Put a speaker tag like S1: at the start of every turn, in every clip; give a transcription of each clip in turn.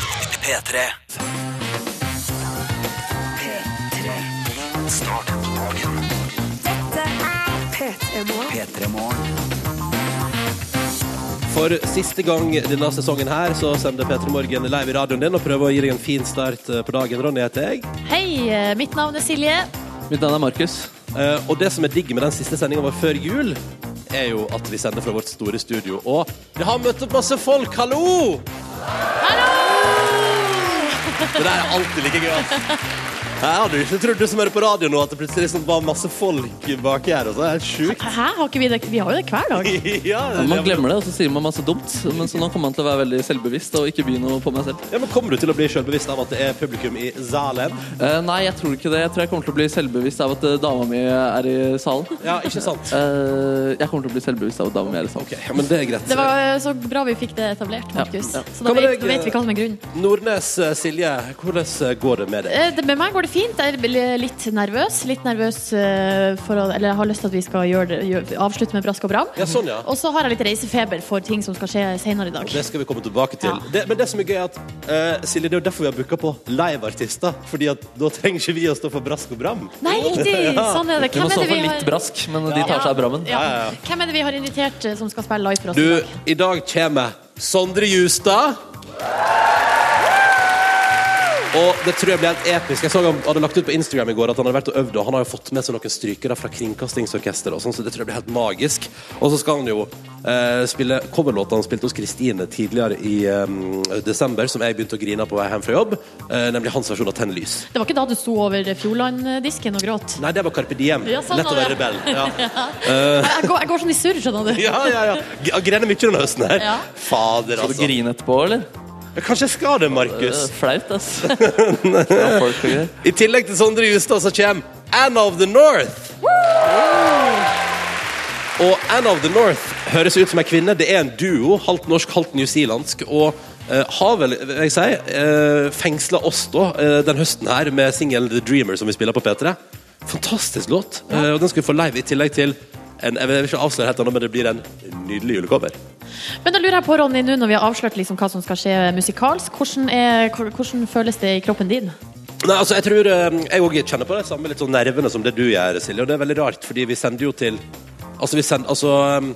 S1: P3. P3. Start dagen. P3 Morgen.
S2: For siste gang denne sesongen her så sender P3 Morgen live i radioen din og prøver å gi deg en fin start eh, på dagen. Ronny heter jeg.
S3: Hei, eh, mitt navn er Silje.
S4: Mitt navn er Markus.
S2: Eh, Og det som er digg med den siste sendinga vår før jul, er jo at vi sender fra vårt store studio. Og vi har møtt opp masse folk! Hallo! Det der er alltid like gøy, ass. Jeg hadde ikke trodd du som hører på radio nå, at det plutselig liksom var masse folk baki her. Også. Det er helt sjukt.
S3: Hæ, har ikke vi det? Vi har jo det hver dag.
S2: Ja,
S4: Man glemmer det, og så sier man masse dumt. Men så nå kommer man til å være veldig selvbevisst og ikke by noe på meg selv.
S2: Ja, men Kommer du til å bli selvbevisst av at det er publikum i Zalem?
S4: Eh, nei, jeg tror ikke det. Jeg tror jeg kommer til å bli selvbevisst av at eh, dama mi er i salen.
S2: Ja, ikke sant?
S4: Eh, jeg kommer til å bli selvbevisst av at dama mi er i salen.
S2: Ok, ja, men det er greit.
S3: Det var eh, så bra vi fikk det etablert, Markus.
S4: Ja, ja.
S3: Så da
S2: Kan
S3: vet,
S2: jeg,
S3: da vet vi hva som er grunnen.
S2: Nordnes, eh, Silje, hvordan eh, går det med deg?
S3: Eh, det- Med meg går det fint. Jeg er litt nervøs. Litt nervøs eh, for å Eller jeg har lyst til at vi skal gjøre det, gjøre, avslutte med brask og bram.
S2: Ja, sånn, ja.
S3: Og så har jeg litt reisefeber for ting som skal skje senere i dag.
S2: Det skal vi komme tilbake til.
S3: Ja.
S2: Det, men det som er gøy, er at eh, Silje, det er jo derfor vi har booka på liveartister. Fordi at da trenger ikke vi å stå for brask og bram.
S3: Nei, riktig! Sånn er det.
S4: Vi må
S3: Hvem er
S4: stå
S3: det vi
S4: for
S3: har
S4: litt brask, men de tar seg av brammen.
S3: Ja. Hvem er det vi har invitert eh, som skal spille live for oss?
S2: Du,
S3: i dag?
S2: i dag kommer Sondre Justad. Og det tror jeg blir helt episk. Jeg så han hadde lagt ut på Instagram i går at han hadde vært og øvd, og han har jo fått med seg noen strykere fra Kringkastingsorkesteret og sånn, så det tror jeg blir helt magisk. Og så skal han jo eh, spille coverlåta han spilte hos Kristine tidligere i eh, desember, som jeg begynte å grine av på vei hjem fra jobb, eh, nemlig hans versjon av Tenn lys.
S3: Det var ikke da du sto over Fjordland-disken og gråt?
S2: Nei, det var Carpe Diem.
S3: Ja, sånn
S2: Lett å
S3: var
S2: være
S3: det.
S2: rebell. Ja.
S3: Jeg går, jeg går sånn i surr, skjønner du.
S2: ja, ja, ja. G- Jeg grener mye denne høsten her.
S3: Ja.
S2: Fader,
S4: Skal du
S2: altså.
S4: grine etterpå, eller?
S2: Kanskje jeg skal det, Markus.
S4: Eh, flaut, ass. Ja, folk og greier.
S2: I tillegg til Sondre Justad så kommer Anna of the North. Og Anna of the North høres ut som ei kvinne. Det er en duo, halvt norsk, halvt newzealandsk. Og eh, har vel, vil jeg si, uh, fengsla oss da eh, den høsten her med singelen The Dreamer, som vi spiller på P3. Fantastisk låt. Eh, og den skal vi få live i tillegg til en, jeg vil ikke avsløre helt ennå, men det blir en nydelig julecover.
S3: Men da lurer jeg på, Ronny, nå når vi har avslørt liksom hva som skal skje musikalsk, hvordan, er, hvordan føles det i kroppen din?
S2: Nei, altså jeg tror eh, Jeg også kjenner på det samme litt sånn nervene som det du gjør, Silje. Og det er veldig rart, fordi vi sender jo til Altså, vi sender Altså eh,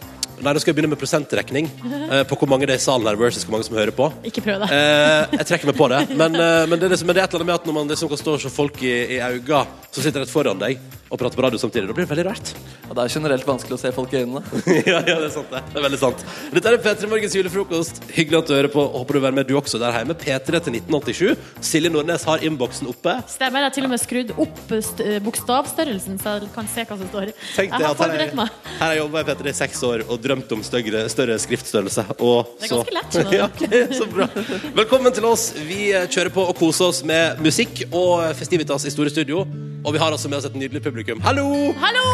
S2: Nei, da skal vi begynne med prosentrekning eh, på hvor mange det er i salen her versus hvor mange som hører på.
S3: Ikke prøv det.
S2: Eh, jeg trekker meg på det, men, eh, men, det, er liksom, men det er et eller annet med at når man liksom kan stå og se folk i, i øynene som sitter rett foran deg, og prate på radio samtidig, da blir det veldig rart.
S4: Og det er generelt vanskelig å se folk i øynene.
S2: ja, ja, det er sant, det. Det er veldig sant. Dette er P3 Morgens julefrokost. Hyggelig at du hører på. Håper du vil være med, du også, der hjemme. P3 til 1987. Silje Nordnes har innboksen oppe.
S3: Stemmer, jeg har til og med skrudd opp st- bokstavstørrelsen, så jeg kan se hva som står.
S2: Tenk
S3: jeg
S2: det
S3: har
S2: at her
S3: forberedt
S2: er-
S3: meg.
S2: her har jeg jobba i P3 i seks år og drømt om større, større skriftstørrelse. Og
S3: Det er ganske lett,
S2: så,
S3: skjønner du.
S2: ja, ok, så bra. Velkommen til oss. Vi eh, kjører på og koser oss med musikk og festivitas i store studio. Og vi har altså med oss et nydelig publikum. Hallo!
S3: Hallo!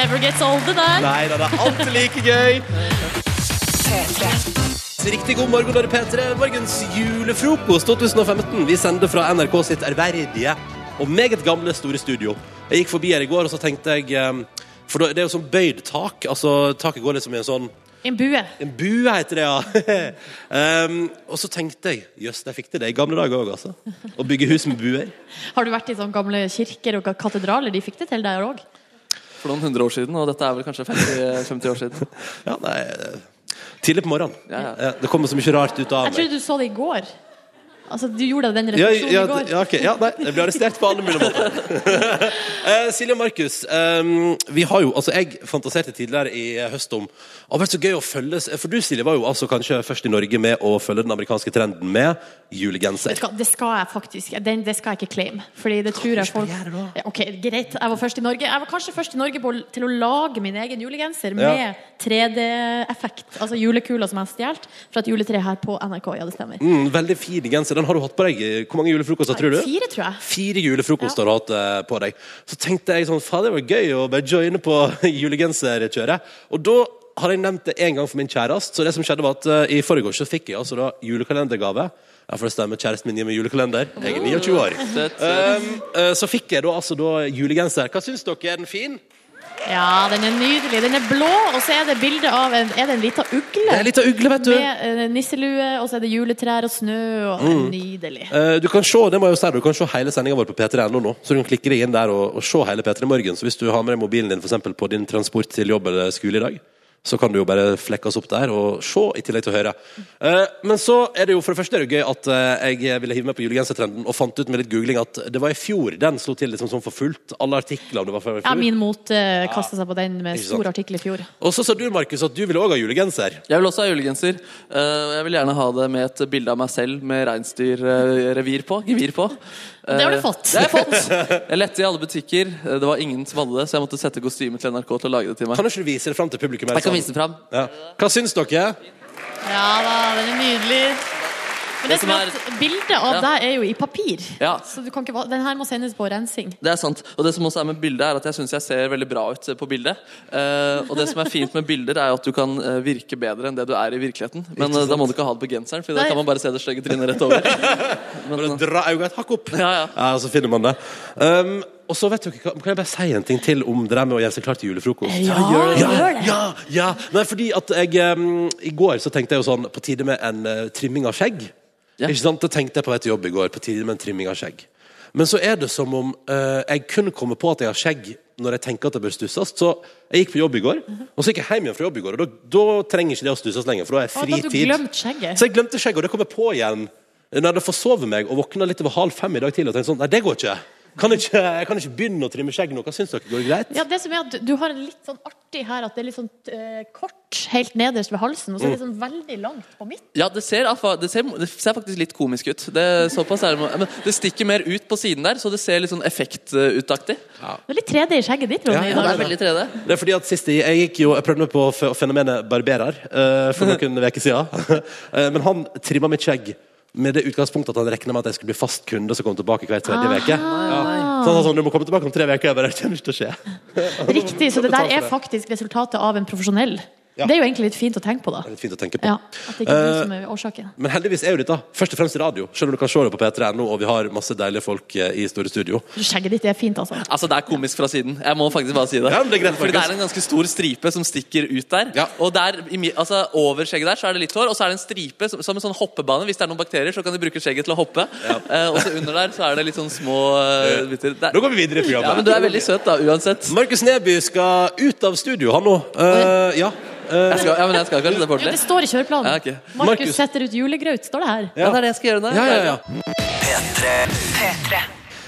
S3: Never gets old, det der.
S2: Nei da, det er alltid like gøy. Riktig god morgen, dere P3. Morgens julefrokost 2015. Vi sender fra NRK sitt ærverdige og meget gamle store studio. Jeg gikk forbi her i går, og så tenkte jeg eh, For da- det er jo sånn bøyd tak. Altså, taket går liksom i en sånn
S3: En bue.
S2: En bue heter det, ja. um, og så tenkte jeg Jøss, jeg fikk til det i gamle dager òg, altså. Å bygge hus med buer.
S3: Har du vært i sånne gamle kirker og katedraler? De fikk det til der òg.
S4: For noen hundre år siden, og dette er vel kanskje 50, 50 år siden.
S2: Ja, nei eh, Tidlig på morgenen.
S4: Ja, ja.
S2: Eh, Det kommer så mye rart ut av
S3: Jeg trodde du så det i går. Altså, Du gjorde den
S2: Ja,
S3: refleksjonen
S2: ja,
S3: i går.
S2: ja, ok. ja, nei, jeg blir arrestert på alle mulige måter. Eh, Silje og Markus, ehm, vi har jo, altså jeg fantaserte tidligere i eh, høst om Det har vært så gøy å følge For du, Silje, var jo altså kanskje først i Norge med å følge den amerikanske trenden med julegenser.
S3: Vet du hva, Det skal jeg faktisk den, Det skal jeg ikke claim. Fordi det tror jeg folk Ja, Ok, Greit, jeg var først i Norge. Jeg var kanskje først i Norge på, til å lage min egen julegenser
S2: Ja.
S3: med 3D-effekt. Altså julekula som jeg har stjålet fra et juletre her på NRK. Ja, det stemmer.
S2: Mm, veldig fin genser. Den har du hatt på deg i- Hvor mange julefrokoster tror du?
S3: Fire, tror jeg.
S2: Fire julefrokoster har du hatt eh, på deg. Så tenkte jeg sånn, faen det var gøy å bare joine på julegenserkjøret. Og da har jeg nevnt det en gang for min kjæreste, så det som skjedde var at eh, i forrige år så fikk jeg altså da julekalendergave. Ja, for det stemmer, kjæresten min gir meg julekalender. Jeg er 29 år.
S4: Søt, søt.
S2: Um, eh, så fikk jeg da altså da julegenser. Hva syns dere, er den fin?
S3: Ja, den er nydelig. Den er blå, og så er det bilde av en, er det en liten ugle.
S2: Det er litt av ugle, vet du.
S3: Med eh, nisselue, og så er det juletrær og snø. Og det er Nydelig.
S2: Eh, Du kan se, det må jeg jo si, du kan se hele sendinga vår på p3.no nå. Så du kan klikke deg inn der og, og se hele P3 Morgen. Så hvis du har med deg mobilen din for eksempel, på din transport til jobb eller skole i dag, så kan du jo bare flekke oss opp der og se, i tillegg til å høre. Eh, Men så er det jo for det første er det jo gøy at eh, jeg ville hive meg på julegensertrenden og fant ut med litt googling at det var i fjor den slo til liksom sånn for fullt. Alle artikler om det var fra i
S3: Ja,
S2: fjor.
S3: min mote kasta seg på den med
S2: Ikke sant. Eh,
S3: stor artikkel i fjor.
S2: Og så sa du, Markus, at du ville òg ha julegenser.
S4: Jeg vil også ha julegenser. eh, og jeg vil gjerne ha det med et bilde av meg selv med reinsdyrrevir på. Gevir på. Eh,
S3: Det har du fått.
S4: Det har jeg fått. Jeg lette i alle butikker. eh, Det var ingen som hadde det, så jeg måtte sette kostymet til NRK til å lage det til meg.
S2: Kan du ikke vise det fram til publikum? her
S4: Jeg kan
S2: i
S4: vise
S2: salen?
S4: den fram.
S2: Ja. Hva syns dere?
S3: Ja da, den er nydelig. Men det
S4: som
S3: som er
S4: er-
S3: at bildet av
S4: Ja.
S3: deg er jo i papir,
S4: Ja.
S3: så du kan ikke, va- den her må sendes på rensing.
S4: Det er sant. Og det som også er med bildet, er at jeg syns jeg ser veldig bra ut eh, på bildet. Eh, og det som er fint med bilder, er jo at du kan eh, virke bedre enn det du er i virkeligheten. Men eh, da må du ikke ha det på genseren, for da
S3: Nei.
S4: kan man bare se det stygge trynet rett over.
S2: Bare dra øynene et hakk opp.
S4: Ja, ja.
S2: så finner man det. Um, og så vet dere, hva- Kan jeg bare si en ting til om det der med å gjøre seg klar til julefrokost?
S3: gjør det.
S2: ja, ja, ja. Nei, fordi at jeg um, I går så tenkte jeg jo sånn På tide med en eh, trimming av skjegg.
S4: Ja.
S2: Ikke sant? Det tenkte jeg på vei til jobb i går. På tide med en trimming av skjegg. Men så er det som om eh, jeg kun kommer på at jeg har skjegg når jeg tenker at det bør stusses. Så jeg gikk på jobb i går,
S3: Mhm.
S2: og så gikk jeg hjem igjen fra jobb i går. Og da, da trenger ikke det å stusses lenger, for da er
S3: Å,
S2: fritid.
S3: da hadde du glemt skjegget.
S2: Så jeg glemte skjegget, og det kom jeg på igjen når jeg hadde forsovet meg og våkna litt over halv fem i dag tidlig og tenkte sånn Nei, det går ikke. Kan ikke jeg kan ikke begynne å trimme skjegg nå. Hva syns dere? Går det greit?
S3: Ja, det som er at du- Du har en litt sånn artig her at det er litt sånn eh, kort helt nederst ved halsen, og så er det sånn veldig langt på midten.
S4: Ja, det ser, affa- det, ser, det ser faktisk litt komisk ut. Det, såpass er det, men det stikker mer ut på siden der, så det ser litt sånn effektutaktig.
S3: Det er litt 3D i skjegget ditt, Ronny.
S2: Ja,
S3: i
S4: Ja, det
S3: dag.
S4: er veldig 3D.
S2: Det er fordi at sist jeg, jeg gikk jo, jeg prøvde meg på fe- fenomenet barberer eh, for noen uker siden. Eh, Men han trimma mitt skjegg med det utgangspunktet at han regna med at jeg skulle bli fast kunde som kom tilbake hver
S3: Ah.
S2: tredje uke. Ja. Så han sa sånn, du må komme tilbake om tre uker. Jeg bare, det kommer ikke til å skje.
S3: Riktig, så det der
S2: betalt for
S3: er
S2: det.
S3: faktisk resultatet av en profesjonell.
S2: Ja.
S3: Det er jo egentlig litt fint å tenke på, da.
S2: Det er litt fint å tenke på.
S3: Ja, at det ikke er
S2: Eh,
S3: du som er årsaken.
S2: Men heldigvis er jo dette først og fremst radio, selv om du kan se det på p3.no, og vi har masse deilige folk eh, i store studio.
S3: Skjegget ditt er fint, altså.
S4: Altså, det er komisk fra siden. Jeg må faktisk bare si det.
S2: Ja, men det er greit,
S4: Fordi det
S2: Markus.
S4: er en ganske stor stripe som stikker ut der.
S2: Ja.
S4: Og der, i mi- altså, over skjegget der så er det litt hår, og så er det en stripe som, som en sånn hoppebane. Hvis det er noen bakterier, så kan de bruke skjegget til å hoppe. Eh, og så under der så er det litt sånn små eh, biter. Det er-
S2: Nå går vi videre i programmet.
S4: ja, men du er veldig søt, da, uansett.
S2: Markus Neby skal ut av studio, han nå. Eh, ja. Eh,
S4: Jeg skal, ja, men jeg skal kanskje det på
S3: Jo,
S4: ordentlig.
S3: det står i kjøreplanen.
S4: Ja, ok.
S2: Markus.
S3: Markus setter ut julegraut, står det her.
S4: Ja, det er det jeg skal gjøre nå.
S2: ja, ja, ja.
S1: P3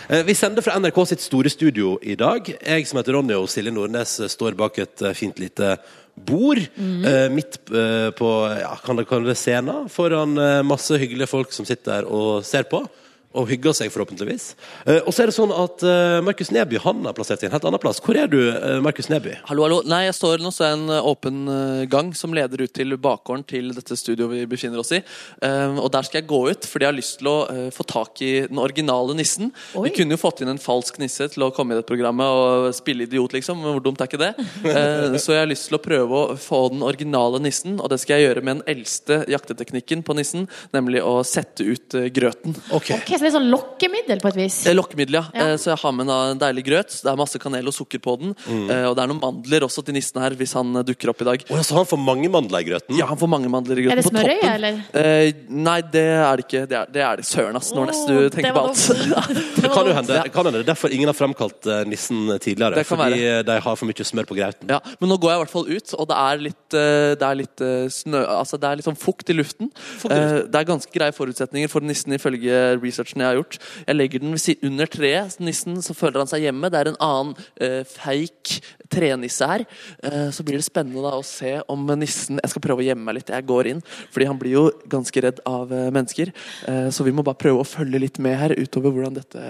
S2: Eh, Vi sender fra NRK sitt store studio i dag. Jeg som heter Ronny og Silje Nordnes eh, står bak et eh, fint lite bord eh, midt eh, på ja, kan det kalle det scenen, foran eh, masse hyggelige folk som sitter der og ser på. Og hygger seg, forhåpentligvis. Eh, og så er det sånn at eh, Markus Neby han er plassert i en helt annen plass. Hvor er du, eh, Markus Neby?
S4: Hallo, hallo. Nei, jeg står nå så er det en eh, åpen eh, gang som leder ut til bakgården til dette studioet vi befinner oss i. Eh, og der skal jeg gå ut, fordi jeg har lyst til å eh, få tak i den originale nissen.
S3: Oi.
S4: Vi kunne jo fått inn en falsk nisse til å komme i dette programmet og spille idiot, liksom. Men hvor dumt er ikke det? Eh, så jeg har lyst til å prøve å få den originale nissen, og det skal jeg gjøre med den eldste jakteteknikken på nissen, nemlig å sette ut eh, grøten.
S2: Ok.
S3: Ok, Så det er sånn lokkemiddel på et vis?
S4: Eh, Lokkemiddel, ja.
S3: Ja.
S4: Eh, Så jeg har med en eh, deilig grøt. Det er masse kanel og sukker på den. Eh, Og det er noen mandler også til nissen her, hvis han eh, dukker opp i dag.
S2: Å, ja, så han får mange mandler i grøten?
S4: Ja, han får mange mandler i
S3: Er
S4: grøten
S3: det
S4: på toppen.
S3: smørøye, eller?
S4: Eh, nei, det er det ikke. Det er det. Er det. Søren, ass, Nordnes.
S3: Åh,
S4: Du
S3: det
S4: tenker på
S3: var
S4: alt.
S3: dumt.
S2: Det kan jo hende.
S4: Ja.
S2: Det kan hende. Det er derfor ingen har framkalt eh, nissen tidligere.
S4: Det kan
S2: fordi eh, de har for mye smør på grauten.
S4: Ja, men nå går jeg i hvert fall ut, og det er litt, eh, det er litt eh, snø Altså, det er litt sånn fukt i luften.
S2: i
S4: Eh, Det er ganske greie forutsetninger for nissen, ifølge researchen jeg har gjort. Jeg legger den ved si- under treet. Nissen, så føler han seg hjemme. Det er en annen eh, feik trenisse her. Eh, så blir det spennende da å se om nissen Jeg skal prøve å gjemme meg litt. Jeg går inn, fordi han blir jo ganske redd av eh, mennesker. Eh, så vi må bare prøve å følge litt med her utover hvordan dette,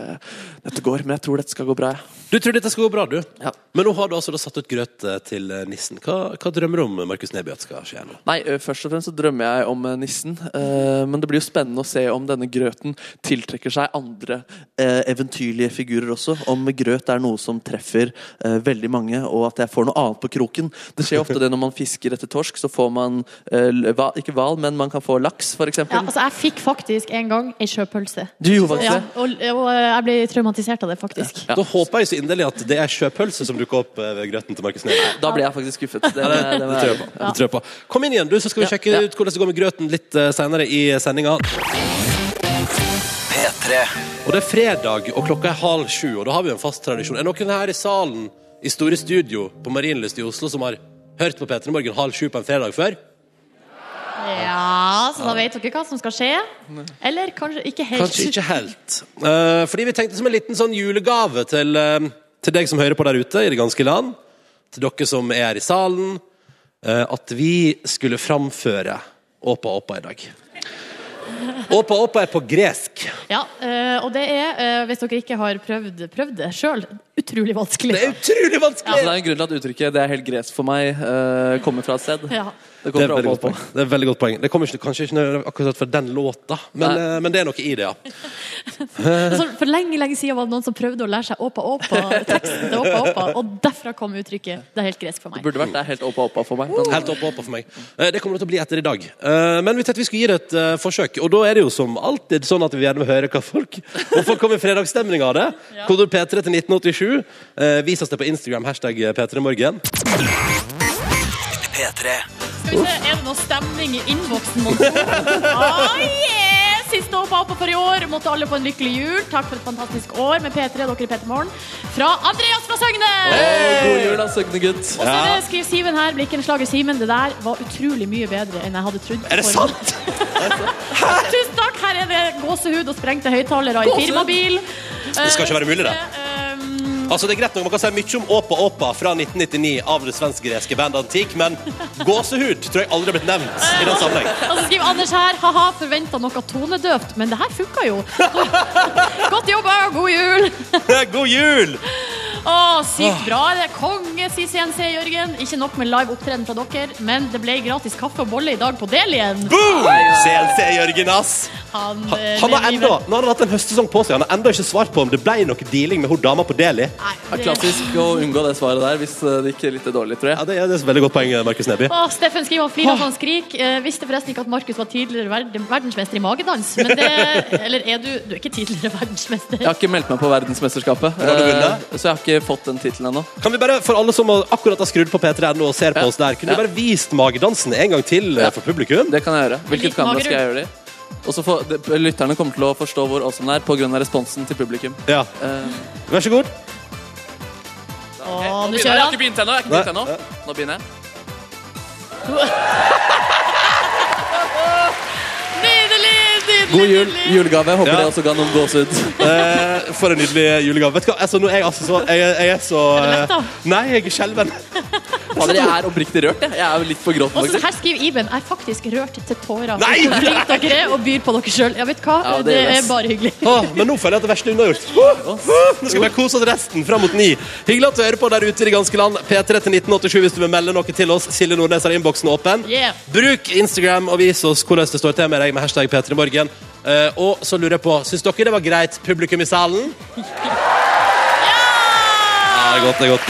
S4: dette går. Men jeg tror dette skal gå bra. jeg.
S2: Du tror dette skal gå bra, du.
S4: Ja.
S2: Men nå har du altså da satt ut grøt eh, til eh, nissen. Hva, hva drømmer du om eh, Markus Neby at skal skje nå?
S4: Nei, eh, ø, først og fremst så drømmer jeg om ø, nissen. ø, Men det blir jo spennende å se om denne grøten tiltrekker tiltrekker seg andre eh, eventyrlige figurer også. Om grøt er noe som treffer eh, veldig mange, og at jeg får noe annet på kroken. Det skjer ofte det når man fisker etter torsk, så får man eh, l- hva- ikke hval, men man kan få laks, f.eks.
S3: Ja,
S4: eksempel
S3: altså, jeg fikk faktisk en gang ei sjøpølse.
S4: Du gjorde faktisk
S3: Ja,
S4: det.
S3: og, og eh, jeg ble traumatisert av det, faktisk.
S4: Ja.
S2: Da håper jeg så inderlig at det er sjøpølse som dukker opp eh, ved grøten til Markus Neby.
S4: Da ble jeg faktisk skuffet. Det,
S2: Ja, det,
S4: det
S2: det
S4: var-
S2: tror jeg på. Det tror jeg på. Kom inn igjen, du, så skal vi
S4: Ja,
S2: sjekke
S4: ja.
S2: ut hvordan det går med grøten litt eh, senere i sendinga.
S1: P3
S2: Og det er fredag, og klokka er halv sju, og da har vi jo en fast tradisjon. Er det noen her i salen, i store studio på Marienlyst i Oslo, som har hørt på P3 Morgen halv sju på en fredag før?
S3: Ja, så da vet dere hva som skal skje. Eller kanskje ikke helt.
S2: Kanskje ikke helt. Eh, fordi vi tenkte som en liten sånn julegave til, eh, til deg som hører på der ute i det ganske land, til dere som er her i salen, eh, at vi skulle framføre Åpa Åpa i dag. Åpa Åpa er på gresk.
S3: Ja, eh, og det er, eh, hvis dere ikke har prøvd, prøvd det sjøl, utrolig vanskelig.
S2: Det er
S4: Ja,
S2: utrolig
S4: så Altså, det
S2: vanskelig!
S4: er en grunn til at uttrykket 'det er helt gresk for meg' eh, kommer fra et sted.
S3: Ja.
S4: Det
S2: Det
S4: kommer
S2: er, et
S4: fra
S2: veldig godt
S4: Åpå.
S2: poeng. det er et veldig godt poeng. Det kommer ikke, kanskje ikke nødvendigvis akkurat fra den låta, men,
S4: Nei.
S2: eh, men det er noe i det, ja.
S3: Så Altså, for lenge lenge siden var det noen som prøvde å lære seg åpa åpa, teksten til åpa åpa, og derfra kom uttrykket 'det er helt gresk for meg'.
S4: Burde vært det er helt Åpå Åpå for meg. Men
S2: Helt oppe oppe for meg. Eh, Det kommer det til å bli etter i dag. Eh, Men vi tenkte vi skulle gi det et eh, forsøk. Og da er det jo som alltid sånn at vi gjerne vil høre hva folk Og folk kommer i fredagsstemning av det. Kodord P3 til 1987. Eh, Vis oss det på Instagram, hashtag eh, P3morgen.
S1: P3
S3: Skal vi se, er det noe stemning i innboksen? mon tro? Ah, yeah! Siste åpa åpa for i år. Måtte alle få en lykkelig jul. Takk for et fantastisk år med P3 dere i P3 Morgen. Fra Andreas fra Søgne!
S4: Å, god jul, da, søkende gutt.
S3: Og så er
S2: Ja.
S3: det, skriver Simen her, blikkenslager Simen, det der var utrolig mye bedre enn jeg hadde trodd.
S2: Er det
S3: For-
S2: sant?!
S3: Tusen takk, her er det gåsehud og sprengte høyttalere i
S4: Gåsehud?
S3: firmabil. Det
S2: skal ikke være mulig,
S3: Eh.
S2: det.
S3: det.
S2: Altså det er greit nok, Man kan si mye om Åpa Åpa fra 1999 av det svensk-greske bandet Antik, men gåsehud tror jeg aldri har blitt nevnt i den sammenheng.
S3: ehm, Og så skriver Anders her Haha, forventa noe tonedøvt, men det her funka jo. Godt jobba, god jul!
S2: God jul!
S3: Å, sykt bra. Det er konge, sier CNC Jørgen. Ikke nok med live opptreden fra dere, men det ble gratis kaffe og bolle i dag på del igjen.
S2: Boom! CLC Jørgen, ass!
S3: Han, eh,
S2: Han har
S3: lever
S2: enda,
S3: livet.
S2: nå har han hatt en høstsesong på seg. Han har enda ikke svart på om det ble noe dealing med hun dama på Deli.
S3: Nei,
S4: Det er
S3: det-
S4: klassisk å unngå det svaret der hvis eh, det gikk litt dårlig, tror
S2: Ja,
S4: jeg.
S2: det er, det er et veldig godt poeng, Markus Neby.
S3: Å, Steffen skriver han flirer av sånn skrik. Eh, visste forresten ikke at Markus var tidligere verd verdensmester i magedans. Men det, eller er du Du er ikke tidligere verdensmester.
S4: Jeg har ikke meldt meg på verdensmesterskapet,
S2: har du
S4: eh,
S2: vunnet?
S4: så jeg har ikke fått den tittelen ennå.
S2: Kan vi bare, For alle som akkurat har skrudd på P3.no og ser på
S4: Ja.
S2: oss der, kunne
S4: Ja.
S2: du bare vist magedansen en gang til eh,
S4: Ja.
S2: for publikum?
S4: Det kan jeg gjøre. Hvilket
S3: Litt
S4: kamera
S3: mager
S4: skal jeg gjøre det i? Og så får det- Lytterne kommer til å forstå hvor awesome den er pga. responsen til publikum.
S2: Ja,
S4: Eh,
S2: Vær så god.
S3: Å,
S4: begynner jeg.
S3: nå
S4: jeg
S3: kjører
S4: har
S3: han.
S4: ikke begynt ennå. jeg har ikke
S2: Nei.
S4: begynt ennå. Nå begynner jeg.
S3: Nydelig! nydelig,
S4: God jul,
S3: nydelig.
S4: julegave. Håper
S2: Ja.
S4: det også ga noen gåsehud.
S2: Eh, for en nydelig julegave. Vet du hva, altså, nå er jeg altså så Jeg, er- jeg er så
S3: Er du lett, da?
S2: eh, Nei, jeg er skjelven.
S4: Fader, jeg er oppriktig rørt. Jeg, jeg er jo litt på gråten,
S3: Og så
S4: faktisk.
S3: her skriver Iben Jeg er faktisk rørt til tårer
S2: Nei!
S3: Så flink dere er og byr på dere selv Ja, vet du hva?
S4: Ja, det
S3: det,
S4: gjør
S3: er
S4: det.
S3: bare hyggelig
S2: Åh, men nå føler jeg at det verste er unnagjort. Uh, uh, Nå skal vi bare kose oss resten fram mot ni. Hyggelig at du hører på der ute i det ganske land. P3 til 1987 hvis du vil melde noe til oss. Silje Nordnes har innboksen åpen.
S3: Yeah.
S2: Bruk Instagram og vis oss hvordan det står til med deg med hashtag P3morgen. Eh, og så lurer jeg på, syns dere det var greit, publikum i salen? Ja, det er godt, det er godt.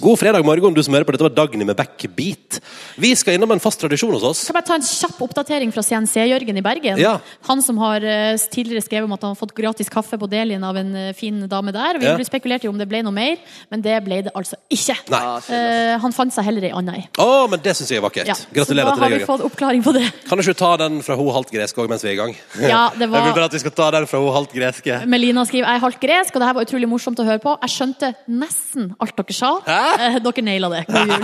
S2: God fredag morgen, du som hører på. Dette var Dagny med Backbeat. Vi skal innom en fast tradisjon hos oss.
S3: Skal bare ta en kjapp oppdatering fra CNC Jørgen i Bergen
S2: Ja.
S3: Han som har eh, tidligere skrevet om at han har fått gratis kaffe på delien av en eh, fin dame der Vi
S2: Ja.
S3: ble spekulert i om det ble noe mer Men det ble det altså ikke
S2: Nei.
S4: Ah, shit, ass.
S3: Eh, Han fant seg heller i annen ei
S2: Å, men det syns jeg er vakkert.
S3: ja.
S2: Gratulerer
S3: Så
S2: til
S3: da
S2: deg,
S3: har vi
S2: Jørgen.
S3: fått oppklaring på det
S2: Kan du ikke ta den fra hun halvt greske òg mens vi er i gang?
S3: Ja, det
S2: Jeg vil
S3: var
S2: bare at vi skal ta den fra hun halvt greske.
S3: Melina skriver Jeg er halvt gresk, og det her var utrolig morsomt å høre på Jeg skjønte nesten alt dere sa Eh, Dere naila det God jul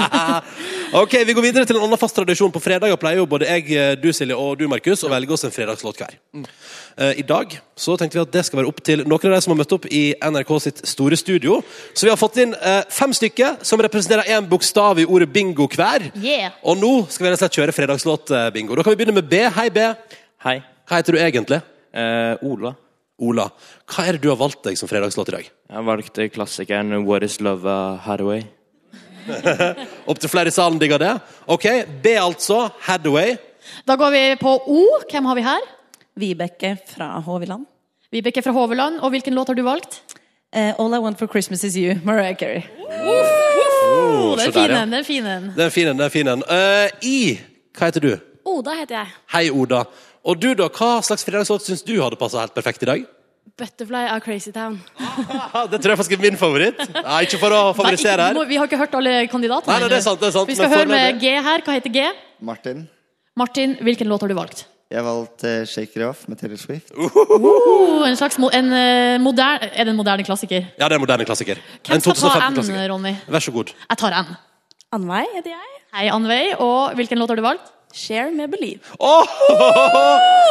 S2: Ok, Vi går videre til en annen fast tradisjon. På fredager pleier jo både jeg, eh, du Silje og du Markus å velge oss en fredagslåt hver. Eh, I dag så tenkte vi at det skal være opp til noen av de som har møtt opp i NRK sitt store studio. Så vi har fått inn eh, fem stykker som representerer én bokstav i ordet bingo hver.
S3: Yeah.
S2: Og nå skal vi rett og slett kjøre fredagslåt-bingo. Da kan vi begynne med B. Hei, B.
S5: Hei.
S2: Hva heter du egentlig?
S5: Eh, Ola.
S2: Ola. Hva er det du har valgt deg som fredagslåt i dag?
S5: Jeg valgte klassikeren What is love av Hathaway.
S2: Opp til flere i salen digger det. Ok, B altså, Hathaway.
S3: Da går vi på O. Hvem har vi her?
S6: Vibeke fra Håviland.
S3: Vibeke fra Håveland. Og hvilken låt har du valgt?
S6: Eh, All I Want for Christmas Is You, Mariah Carey.
S2: Oh, se
S3: Det er fin
S2: der, ja.
S3: en. det er fin en.
S2: Det er fin en, det er fin en. Eh, I Hva heter du?
S7: Oda heter jeg.
S2: Hei, Oda. Og du, da? Hva slags fredagslåt syns du hadde passa helt perfekt i dag?
S7: Butterfly av Crazy Town.
S2: Aha, det tror jeg faktisk er min favoritt. Nei, ikke for å favorisere
S3: Nei,
S2: her.
S3: ikke- må- Vi har ikke hørt alle kandidatene.
S2: Nei, nei, det er sant, det er sant,
S3: Vi skal
S2: men
S3: høre med
S2: foreløpig-
S3: G her. Hva heter G?
S8: Martin.
S3: Martin, hvilken låt har du valgt?
S8: Jeg valgte Shake It Off med Taylor Swift.
S3: Oh, en slags mo en, eh, moderne, er det en moderne klassiker?
S2: Ja, det er en moderne klassiker.
S3: Hvem
S2: En
S3: skal ta
S2: 2015 klassiker.
S3: N, Ronny?
S2: Vær så god.
S3: Jeg tar N.
S7: Annvei heter jeg.
S3: Hei, Anvei. Og hvilken låt har du valgt?
S7: Share med Believe.
S3: Oh,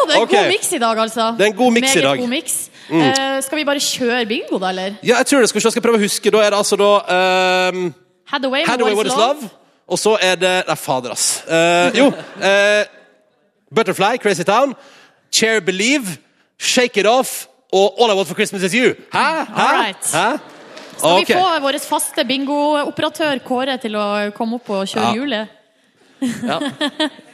S3: det er en
S2: Ok.
S3: god miks i dag, altså.
S2: Det er en god mix i
S3: Meget
S2: dag. Mm.
S3: God mix. Eh, skal vi bare kjøre bingo, da, eller?
S2: Ja, jeg tror det. Skal vi se, jeg skal prøve å huske. Da er det altså da ehm,
S3: Hathaway, med
S2: Hathaway, What Is Love. Og så er det Nei, fader, ass. Eh, jo. eh, Butterfly, Crazy Town, Chair Believe, Shake It Off og All I Want for Christmas Is You. Hæ? Hæ?
S3: All right.
S2: Hæ?
S3: Skal
S2: Ok.
S3: vi få vår faste bingooperatør Kåre til å komme opp og kjøre
S2: Ja.
S3: hjulet?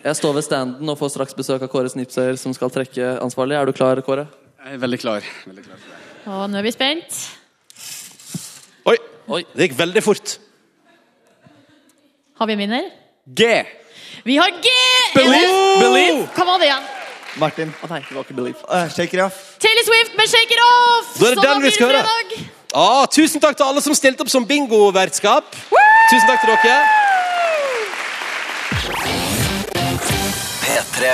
S4: Jeg står ved standen og får straks besøk av Kåre Snipsøyer, som skal trekke ansvarlig. Er du klar, Kåre?
S9: Jeg er veldig klar.
S3: Og nå er vi spent.
S2: Oi.
S4: Oi.
S2: Det gikk veldig fort.
S3: Har vi en vinner?
S9: G.
S3: Vi har G!
S2: Believe! Believe!
S3: Hva var det igjen?
S8: Martin.
S4: Å nei, det var ikke Believe.
S8: Uh, shake It Off.
S3: Taylor Swift med 'Shake It Off'!
S2: Da er det
S3: Så
S2: den vi
S3: blir
S2: skal høre.
S3: fredag.
S2: Ah, tusen takk til alle som stilte opp som bingovertskap. Tusen takk til dere.
S1: P3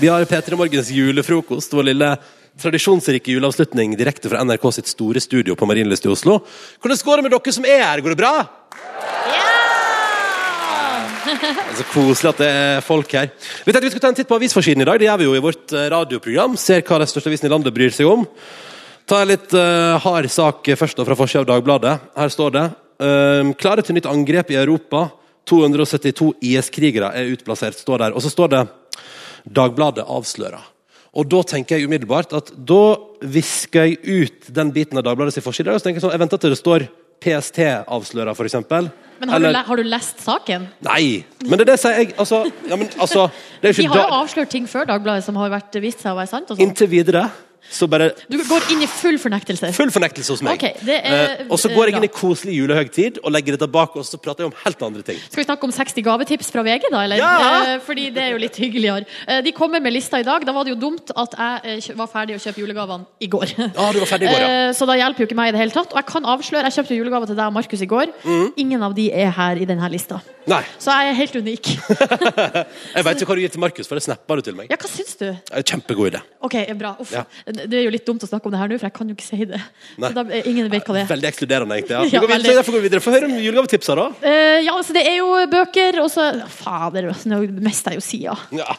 S2: Vi har P3 Morgens julefrokost, vår lille tradisjonsrike juleavslutning direkte fra NRK sitt store studio på Marienlyst i Oslo. Hvordan går det med dere som er her? Går det bra? Så koselig at det er folk her. Vi tenkte vi skulle ta en titt på avisforsiden i dag. Det gjør vi jo i vårt eh, radioprogram. Ser hva den største avisen i landet bryr seg om. Ta en litt eh, hard sak først da fra forsida av Dagbladet. Her står det ehm, Klare til nytt angrep i Europa. 272 IS-krigere er utplassert, står der. Og så står det Dagbladet avslører. Og da tenker jeg umiddelbart at da visker jeg ut den biten av Dagbladets forside. Og så tenker jeg sånn, jeg venter til det står PST avslører, for eksempel.
S3: Men har,
S2: Eller-
S3: du le har du lest saken?
S2: Nei! Men det er det sier jeg altså, ja, men, altså, det er jo
S3: De
S2: ikke
S3: har jo
S2: da,
S3: avslørt ting før Dagbladet som har vært, vist seg å være sant. Og sånn.
S2: Inntil videre så bare
S3: du går inn i full fornektelse.
S2: Full fornektelse hos meg.
S3: Ok, det er,
S2: eh, og så går jeg
S3: eh,
S2: inn i koselig julehøgtid og legger dette bak oss, så prater jeg om helt andre ting.
S3: Skal vi snakke om 60 gavetips fra VG, da? Eller?
S2: Ja!
S3: Eh, Fordi det er jo litt hyggeligere. Eh, De kommer med lista i dag. Da var det jo dumt at jeg eh, kjø- var ferdig å kjøpe julegavene i går.
S2: Ja, du var ferdig i går, ja.
S3: Eh, Så da hjelper jo ikke meg i det hele tatt. Og jeg kan avsløre, jeg kjøpte julegaver til deg og Markus i går.
S2: Mm.
S3: Ingen av de er her i denne lista.
S2: Nei,
S3: Så jeg er helt unik.
S2: jeg veit jo hva du gir til Markus, for det snappa du til meg.
S3: Ja, hva syns du?
S2: Eh, Kjempegod idé.
S3: Ok, bra. Uff.
S2: Ja.
S3: Det er jo litt dumt å snakke om det her nå, for jeg kan jo ikke si det.
S2: Nei.
S3: Så da, eh, ingen vet hva det er.
S2: Veldig ekskluderende, egentlig. Ja. Vi
S3: Ja,
S2: går videre,
S3: veldig.
S2: derfor går vi videre. Få høre om julegavetipsa, da.
S3: Eh, ja, altså det er jo bøker, og så Fader, altså, nå mister jeg jo sida.
S2: Ja.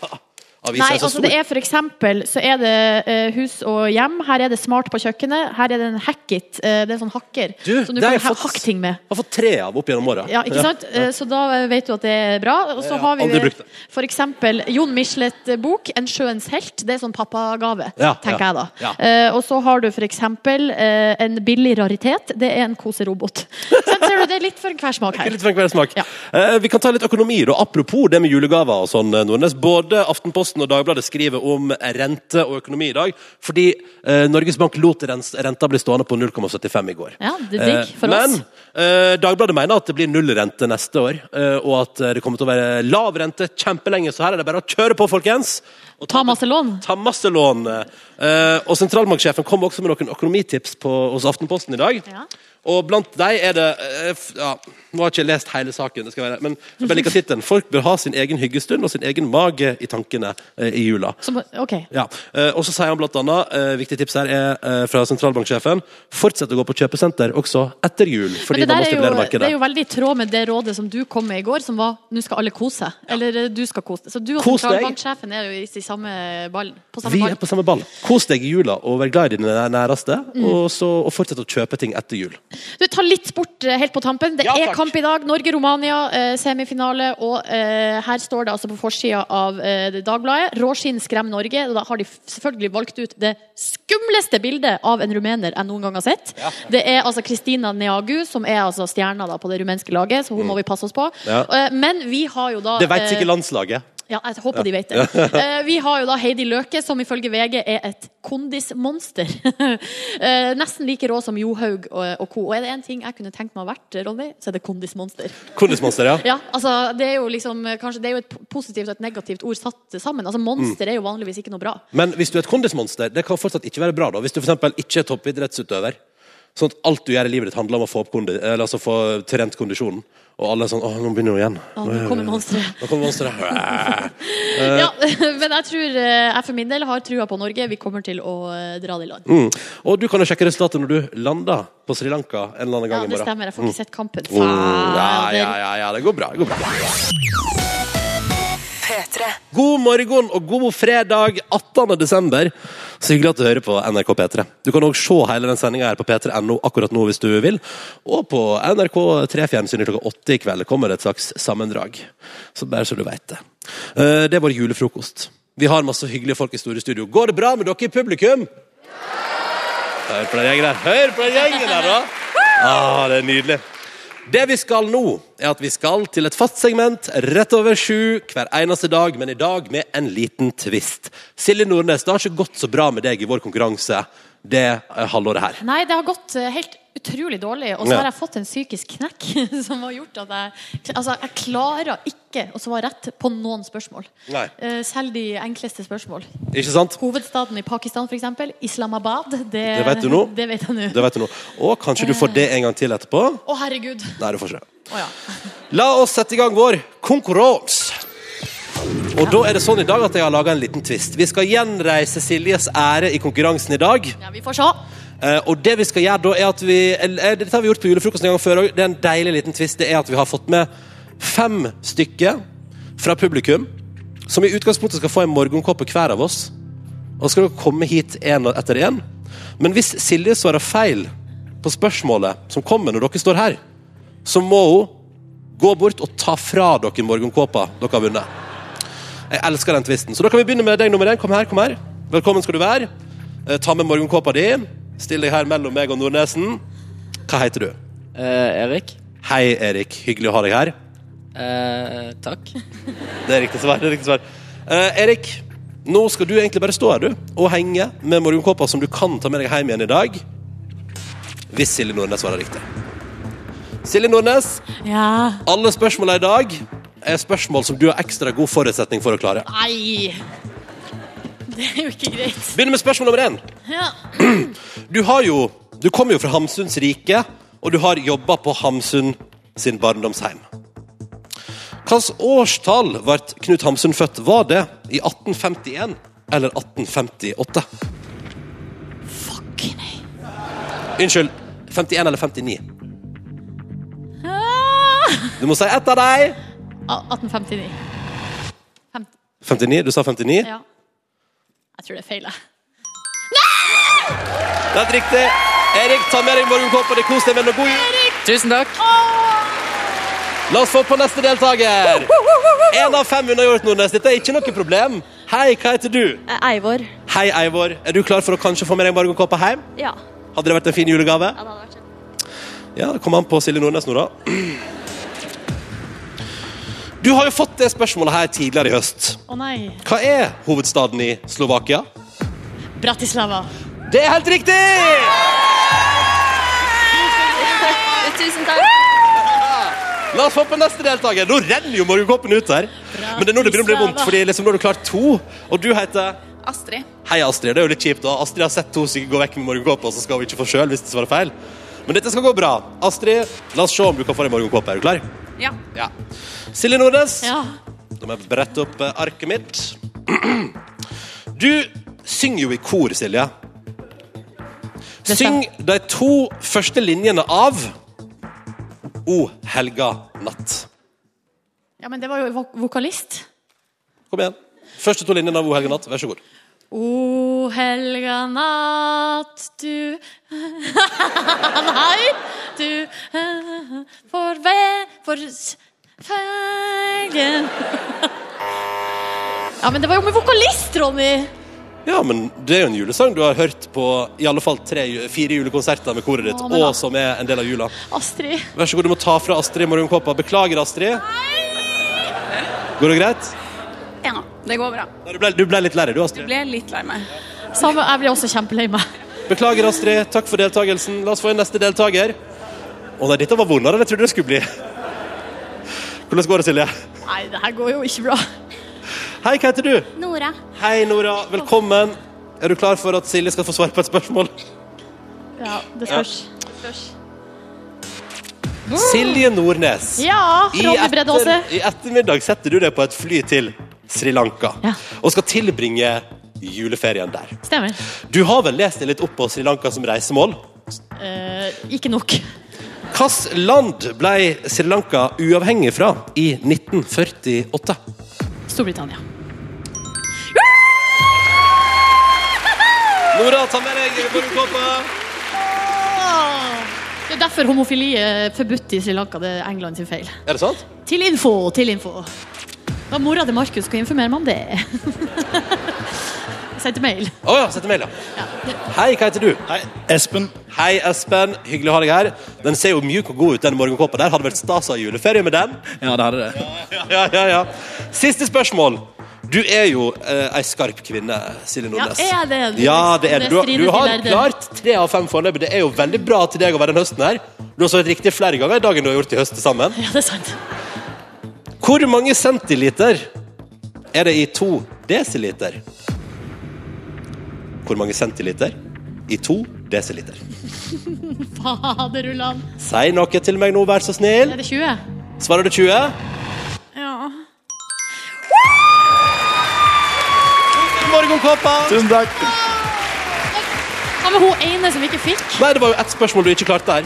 S2: Avisa
S3: Nei,
S2: er så
S3: altså
S2: stor.
S3: det er for eksempel så er det eh, hus og hjem. Her er det smart på kjøkkenet. Her er det en hackit. eh, det er en sånn hakker
S2: Du,
S3: som
S2: det
S3: du
S2: har
S3: kan
S2: jeg
S3: ha-
S2: fått-
S3: hakke ting med.
S2: Har fått tre av opp gjennom åra.
S3: Ja, ikke sant? Eh, Så da eh, vet du at det er bra. Og så
S2: Ja,
S3: har
S2: aldri
S3: vi
S2: brukt det.
S3: for eksempel Jon Michelet-bok, 'En sjøens helt'. Det er sånn pappagave,
S2: Ja,
S3: tenker
S2: ja,
S3: jeg da.
S2: ja.
S3: Eh, og så har du for eksempel eh, en billig raritet. Det er en koserobot. Så ser du, det er litt for hver smak her.
S2: Litt for enhver smak.
S3: Ja.
S2: Eh, vi kan ta litt økonomi. Da. Apropos det med julegaver og sånn, eh, Nordnes. Både Aftenposten og Dagbladet skriver om rente og økonomi i dag. Fordi eh, Norges Bank lot rens- renta bli stående på 0,75 i går. Eh,
S3: Ja, det er digg for
S2: men,
S3: oss.
S2: eh, Dagbladet mener at det blir nullrente neste år, eh, og at eh, det kommer til å være lav rente kjempelenge. Så her er det bare å kjøre på, folkens! Og
S3: Ta masse lån.
S2: Ta masse lån. Eh, og sentralbanksjefen kom også med noen økonomitips på, hos Aftenposten i dag.
S3: Ja.
S2: Og blant dem er det eh, f- ja, Nå har jeg ikke lest hele saken, det skal være, men jeg bare liker tittelen. 'Folk bør ha sin egen hyggestund og sin egen mage i tankene eh, i jula'.
S3: Som, ok.
S2: Ja, eh, og så sier han blant annet, eh, viktig tips her er eh, fra sentralbanksjefen, fortsett å gå på kjøpesenter også etter jul, fordi
S3: Men
S2: man må
S3: det, der
S2: stimulere
S3: er jo, det
S2: markedet.
S3: er jo veldig i tråd med det rådet som du kom med i går, som var 'nå skal alle kose seg'. Eller eh, 'du skal kose deg'. Så du og
S2: Kos deg.
S3: sentralbanksjefen er jo i, i samme ball, på samme
S2: Vi
S3: ball.
S2: er på samme ball. Kos deg i jula og vær glad i dine næreste,
S3: Mm.
S2: og, så, og fortsett å kjøpe ting etter jul.
S3: Du, ta litt sport eh, helt på tampen. Det
S2: Ja,
S3: er
S2: takk.
S3: kamp i dag. Norge-Romania, eh, semifinale. Og eh, her står det altså på forsida av eh, Dagbladet 'Råskinn skremmer Norge'. Og Da har de f- selvfølgelig valgt ut det skumleste bildet av en rumener jeg noen gang har sett. Det er altså Kristina Neagu, som er altså stjerna da, på det rumenske laget, så hun må vi passe oss på.
S2: Mm. Ja.
S3: Eh, men vi har jo da
S2: Det vet
S3: eh,
S2: sikkert landslaget.
S3: Ja, jeg håper de vet det. Eh, vi har jo da Heidi Løke, som ifølge VG er et kondismonster. Eh, nesten like rå som Johaug og, og co. Og er det én ting jeg kunne tenkt meg å ha vært, Ronny, så er det kondismonster.
S2: Kondismonster, ja.
S3: Ja, altså, det er jo liksom eh, kanskje, det er jo et positivt og et negativt ord satt sammen. Altså, Monster er jo vanligvis ikke noe bra.
S2: Men hvis du er et kondismonster, det kan fortsatt ikke være bra. da Hvis du for eksempel ikke er toppidrettsutøver. Sånn at alt du gjør i livet ditt, handler om å få, opp kondi, eller altså få trent kondisjonen. Og alle er sånn 'Å, nå begynner hun igjen'.
S3: Å, nå kommer monsteret.
S2: Nå kommer monsteret.
S3: Ja, Men jeg tror eh, jeg for min del har trua på Norge. Vi kommer til å eh, dra det i land.
S2: Mm. Og du kan jo sjekke resultatet når du lander på Sri Lanka en eller annen
S3: Ja,
S2: gang i
S3: det
S2: morgen.
S3: stemmer. Jeg får ikke sett kampen.
S2: Mm. Ja,
S3: Fader.
S2: ja, ja, ja, det går bra. Det går bra. God morgen og god fredag 18. desember. Så hyggelig at du hører på NRK P3. Du kan òg se hele den sendinga her på p3.no akkurat nå hvis du vil. Og på NRK3 fjernsynet klokka åtte i kveld kommer det et slags sammendrag. Så bare så du veit det. Eh, Det er vår julefrokost. Vi har masse hyggelige folk i store studio. Går det bra med dere i publikum? Hør på den gjengen der. Hør på den gjengen der, da! Ah, det er nydelig. Det vi skal nå, er at vi skal til et fast segment rett over sju hver eneste dag, men i dag med en liten twist. Silje Nordnes, det har ikke gått så bra med deg i vår konkurranse det eh, halvåret her.
S3: Nei, det har gått eh, helt utrolig dårlig. Og så
S2: Ja.
S3: har jeg fått en psykisk knekk som har gjort at jeg Altså, jeg klarer ikke å svare rett på noen spørsmål.
S2: Nei.
S3: Eh, Selv de enkleste spørsmål.
S2: Ikke sant?
S3: Hovedstaden i Pakistan, for eksempel Islamabad. Det,
S2: Det vet du nå.
S3: Det vet jeg nå.
S2: Det vet du nå. Og kanskje du får det en gang til etterpå?
S3: Å, herregud.
S2: Nei, du får ikke.
S3: Å ja.
S2: La oss sette i gang vår konkurranse. Og da er det sånn i dag at jeg har laga en liten twist. Vi skal gjenreise Siljes ære i konkurransen i dag.
S3: ja. Vi får se.
S2: Eh, og det vi skal gjøre da, er at vi eller, eh, Dette har vi gjort på julefrokosten en gang før òg. Det er en deilig liten twist. Det er at vi har fått med fem stykker fra publikum som i utgangspunktet skal få en morgenkåpe hver av oss. Og så skal dere komme hit én etter én. Men hvis Silje svarer feil på spørsmålet som kommer når dere står her, så må hun gå bort og ta fra dere morgenkåpa dere har vunnet. Jeg elsker den tvisten. Så da kan vi begynne med deg nummer én. Kom her, kom her. Velkommen skal du være. Eh, Ta med morgenkåpa di. Still deg her mellom meg og Nordnesen. Hva heter du?
S4: Eh,
S9: Erik.
S2: Hei, Erik. Hyggelig å ha deg her.
S9: takk.
S2: Det er riktig svar. det er riktig svar. Eh, Erik, nå skal du egentlig bare stå her du, og henge med morgenkåpa som du kan ta med deg hjem igjen i dag. Hvis Silje Nordnes svarer riktig. Silje Nordnes,
S3: Ja.
S2: alle spørsmåla i dag er spørsmål som du har ekstra god forutsetning for å klare.
S3: Nei. Det er jo ikke greit.
S2: Begynner med spørsmål nummer én.
S3: Ja.
S2: Du har jo Du kommer jo fra Hamsuns rike, og du har jobba på Hamsun sin barndomsheim. Hvilket årstall ble Knut Hamsun født? Var det i 1851 eller 1858?
S3: Fuck, nei.
S2: Unnskyld. 51 eller 59?
S3: Ah.
S2: Du må si ett av dem.
S3: Ah, 1859. Fem-
S2: 59? Du sa 59?
S3: Ja. Jeg tror det er feil, jeg.
S2: Det er helt riktig. Erik, ta med deg morgenkåpa di. Kos deg med den, og god jul.
S9: Tusen takk.
S2: La oss få på neste deltaker. Én av fem unnagjort, Nordnes. Dette er ikke noe problem. Hei, hva heter du?
S7: Eivor.
S2: Hei, Eivor. Er du klar for å kanskje få med deg morgenkåpa hjem?
S7: Ja.
S2: Hadde det vært en fin julegave? Ja, det hadde vært Ja, det kom an på Silje Nordnes nå, da. Du har jo fått det spørsmålet her tidligere i høst.
S3: Å nei.
S2: Hva er hovedstaden i Slovakia?
S3: Bratislava.
S2: Det er helt riktig!
S7: Tusen takk.
S2: La oss få på neste deltaker. Nå renner jo morgenkåpen ut her. Men det er nå det begynner å bli vondt, Fordi liksom nå har du klart to, og du heter
S10: Astrid.
S2: Hei, Astrid. Det er jo litt kjipt. da. Astrid har sett to stykker gå vekk med morgenkåpa, og så skal hun ikke få sjøl hvis det svarer feil. Men dette skal gå bra. Astrid, la oss se om du kan få deg morgenkåpe. Er du klar?
S10: Ja.
S2: Ja. Silje Nordnes,
S3: Ja.
S2: da må jeg brette opp eh, arket mitt. Du synger jo i kor, Silje. Syng
S3: stemmer.
S2: de to første linjene av O helga natt.
S3: Ja, men det var jo vok vokalist.
S2: Kom igjen. Første to linjene av O helga natt, vær så god.
S3: O helga natt, du Nei! Du får ve... For s- fegen Ja, men det var jo med vokalist, Ronny!
S2: Ja, men det er jo en julesang du har hørt på i alle fall tre, ju- fire julekonserter med koret ditt,
S3: Å, men da-
S2: og som er en del av jula.
S3: Astrid.
S2: Vær så god, du må ta fra Astrid morgenkåpa. Beklager, Astrid. Går det greit?
S7: Det går bra.
S2: Du ble, du ble litt lei deg, du, Astrid.
S7: Ble litt lei meg.
S3: Samme, jeg blir også kjempelei meg.
S2: Beklager, Astrid. Takk for deltakelsen. La oss få inn neste deltaker. Å nei, dette var vondere enn jeg trodde det skulle bli. Hvordan går det, Silje?
S3: Nei, det her går jo ikke bra.
S2: Hei, hva heter du?
S7: Nora.
S2: Hei, Nora. Velkommen. Er du klar for at Silje skal få svare på et spørsmål?
S3: Ja, det spørs.
S2: Silje Nordnes.
S3: Mm. Ja, Ronny Bredde Aase.
S2: I ettermiddag setter du deg på et fly til Sri Lanka
S3: Ja.
S2: og skal tilbringe juleferien der.
S3: Stemmer.
S2: Du har vel lest deg litt opp på Sri Lanka som reisemål?
S3: Eh, ikke nok.
S2: Hvilket land ble Sri Lanka uavhengig fra i 1948?
S3: Storbritannia.
S2: Nora, ta med deg bobbelkåpa.
S3: Det er derfor homofili er forbudt i Sri Lanka. Det er England sin feil.
S2: Er det sant?
S3: Til info, til info. Da mora til Markus skal informere meg om det. Sendte mail.
S2: Å ja, sett mail, ja. Hei, hva heter du?
S10: Hei, Espen.
S2: Hei, Espen. Hyggelig å ha deg her. Den ser jo mjuk og god ut, den morgenkåpa der. Hadde vært stas å ha juleferie med den.
S10: Ja, det hadde det.
S2: Ja, ja, ja. Siste spørsmål. Du er jo eh, ei skarp kvinne, Silje Nordnes.
S3: Ja, er det det?
S2: Ja, det er det. Du,
S3: Det strides
S2: du har
S3: i verden.
S2: klart tre av fem foreløpig. Det er jo veldig bra til deg å være den høsten her. Du har svart riktig flere ganger i dagen du har gjort i høst til sammen.
S3: Ja, det er sant.
S2: Hvor mange centiliter er det i to desiliter? Hvor mange centiliter i to desiliter?
S3: Faderullan.
S2: Si noe til meg nå, vær så snill.
S3: Er det 20?
S2: Svarer du 20?
S7: Ja.
S2: Morgenkåpa!
S10: Tusen takk.
S3: Hva med hun ene som ikke fikk?
S2: Nei, det var jo ett spørsmål du ikke klarte her.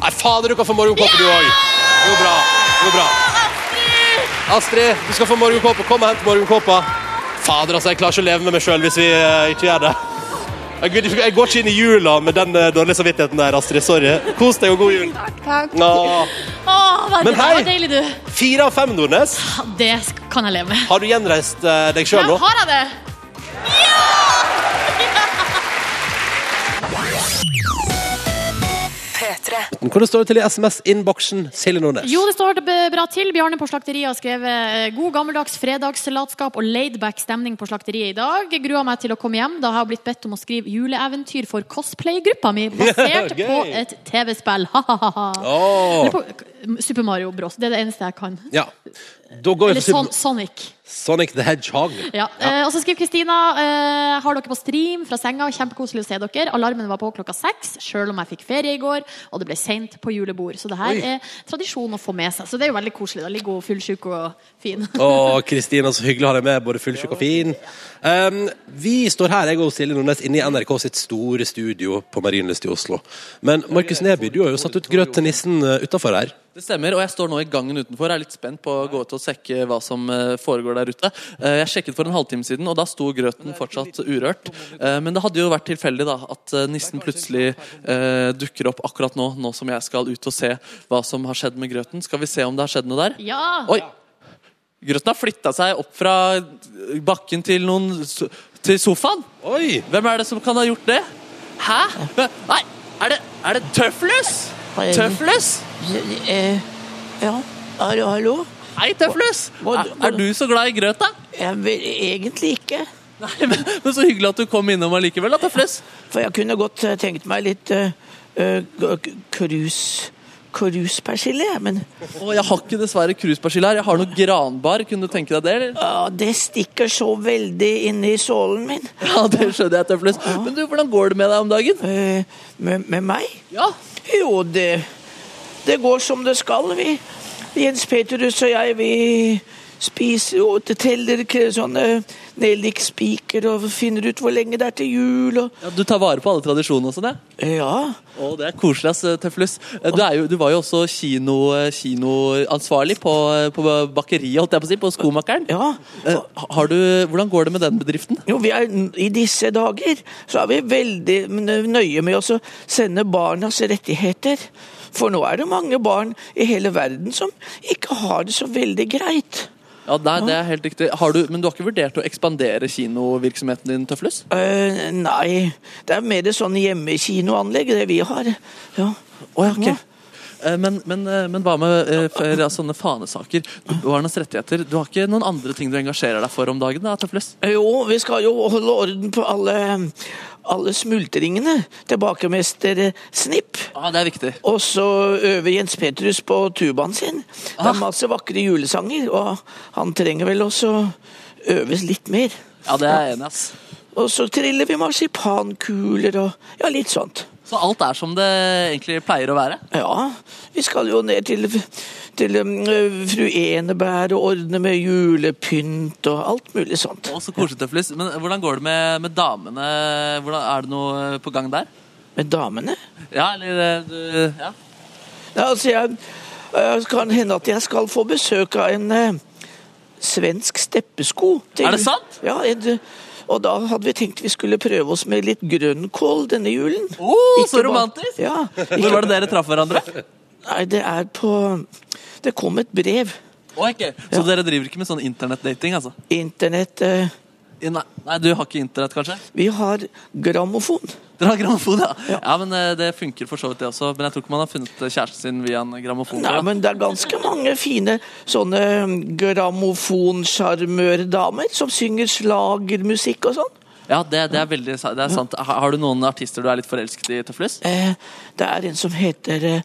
S2: Nei, fader, du kan få morgenkåpe, du òg. Det går bra. Det går bra. Astrid, du skal få morgenkåpe. Kom og hent morgenkåpa. Fader, altså, jeg klarer ikke å leve med meg sjøl hvis vi eh, ikke gjør det. Jeg, gidder ikke- jeg går ikke inn i jula med den eh, dårlige samvittigheten der, Astrid. Sorry. Kos deg og god jul. Nå.
S3: Åh, veldig
S2: Men
S3: bra.
S2: hei!
S3: Deilig, du.
S2: Fire av fem, Nordnes.
S3: Ja, Det sk- kan jeg leve med.
S2: Har du gjenreist eh, deg sjøl
S3: Ja,
S2: nå?
S3: har jeg det?
S2: Hvordan står det til i SMS-innboksen, Silje Nordnes?
S3: Jo, det står det b- bra til. Bjarne på slakteriet har skrevet eh, god gammeldags fredagssalatskap og laidback stemning på slakteriet i dag. Jeg Gruer meg til å komme hjem, da har jeg blitt bedt om å skrive juleeventyr for cosplaygruppa mi, basert
S2: Gøy.
S3: på et TV-spill. Ha-ha-ha.
S2: Åh.
S3: Eller på Super Mario Bros. Det er det eneste jeg kan.
S2: Ja. Da går vi
S3: Eller
S2: for
S3: sånn- Son
S2: Super-
S3: Sonic.
S2: Sonic the Hedgehog.
S3: Ja. Eh, og så skriver Kristina eh, Har dere på stream fra senga. Kjempekoselig å se dere. Alarmen var på klokka seks, sjøl om jeg fikk ferie i går, og det ble seint på julebord. Så det her er tradisjon å få med seg. Så det er jo veldig koselig. Da ligger hun fullsjuk og fin.
S2: Og Kristina, så hyggelig å ha deg med, både fullsjuk og fin. Um, vi står her, jeg og Silje Nordnes, inne i NRK sitt store studio på Marienlyst i Oslo. Men Markus Neby, du har jo satt ut grøt til nissen uh, utenfor her.
S4: Det stemmer, og jeg står nå i gangen utenfor. Jeg er litt spent på å gå ut og sjekke hva som eh, foregår der ute. Eh, Jeg sjekket for en halvtime siden, og da sto grøten fortsatt urørt. Eh, Men det hadde jo vært tilfeldig da, at eh, nissen plutselig eh, dukker opp akkurat nå, nå som jeg skal ut og se hva som har skjedd med grøten. Skal vi se om det har skjedd noe der?
S3: Ja!
S4: Oi! Grøten har flytta seg opp fra bakken til noen so- til sofaen.
S2: Oi!
S4: Hvem er det som kan ha gjort det? Hæ? Nei, er det, er det Tøflus? Tøflus?
S9: Ja, hallo, hallo.
S4: Hei, Tøflus!
S9: Hva-
S4: Er, er du så glad i grøt, da?
S9: Jeg vil egentlig ikke.
S4: Nei, men, men så hyggelig at du kom innom allikevel, da, Tøflus.
S9: For jeg kunne godt eh, tenkt meg litt eh, eh, k- k- krus... Kruspersille, jeg, men
S4: Å, jeg har ikke dessverre kruspersille her. Jeg har noe granbar. Kunne du tenke deg det? eller?
S9: ah, det stikker så veldig inni sålen min.
S4: Ja, det skjønner jeg, Tøflus. Men du, hvordan går det med deg om dagen?
S9: Eh, med, med meg?
S4: Ja,
S9: Jo, det, det går som det skal. Vi, Jens Peterus og jeg, vi spiser og teller k- sånne nellikspiker og finner ut hvor lenge det er til jul. Og,
S4: ja Du tar vare på alle tradisjonene og sånn, ja?
S9: ja.
S4: Å, det er koselig, ass, Tøflus. Du, er jo, du var jo også kino, kinoansvarlig på, på bakeriet, holdt jeg på å si, på skomakeren.
S9: ja.
S4: Eh, Har du, hvordan går det med den bedriften?
S9: Jo, vi er, I disse dager så er vi veldig n- nøye med oss å sende barnas rettigheter. For nå er det mange barn i hele verden som ikke har det så veldig greit.
S4: Ja, nei, det er helt riktig. Har du, men du har ikke vurdert å ekspandere kinovirksomheten din, Tøflus?
S9: Eh, nei, det er mer sånn hjemmekinoanlegg, det vi har. Ja.
S4: Å, ja, ok. Eh, Men, men, eh, men hva med eh, for, ja, sånne fanesaker? Barnas rettigheter. Du har ikke noen andre ting du engasjerer deg for om dagen? da, Tøfles?
S9: Jo, vi skal jo holde orden på alle, alle smultringene. Tilbakemester Snipp.
S4: Ja, det er viktig.
S9: Og så øver Jens Petrus på tubaen sin. Det er masse vakre julesanger, og han trenger vel også øves litt mer.
S4: Ja, det er jeg enig i. ass.
S9: Og så triller vi marsipankuler og ja, litt sånt.
S4: Så alt er som det egentlig pleier å være?
S9: Ja, vi skal jo ned til, til um, fru Enebær og ordne med julepynt og alt mulig sånt.
S4: Å, så koselig, Tøflis. Men hvordan går det med, med damene? Hvordan, er det noe på gang der?
S9: Med damene.
S4: Ja, eller eh, du, ja.
S9: Ja, altså, jeg, øh, kan hende at jeg skal få besøk av en eh, svensk steppesko. til-
S4: Er det sant?
S9: Ja, en, og da hadde vi tenkt vi skulle prøve oss med litt grønnkål denne julen.
S4: Å, så
S9: Ikke bare-
S4: romantisk!
S9: Ja.
S4: Hvor var det dere traff hverandre?
S9: Nei, det er på Det kom et brev.
S4: Å, ikke. Så dere driver ikke med sånn internettdating, altså?
S9: Internett eh,
S4: I- Nei, nei, du har ikke internett, kanskje?
S9: Vi har grammofon.
S4: Dere har grammofon, ja. ja. men eh, Det funker for så vidt, det også. Men jeg tror ikke man har funnet eh, kjæresten sin via en grammofon.
S9: Nei,
S4: da.
S9: men det er ganske mange fine sånne eh, grammofonsjarmørdamer som synger slagermusikk og sånn.
S4: Ja, det, det er veldig sa- det er sant. Har har du noen artister du er litt forelsket i, Tøflus?
S9: Eh, det er en som heter eh,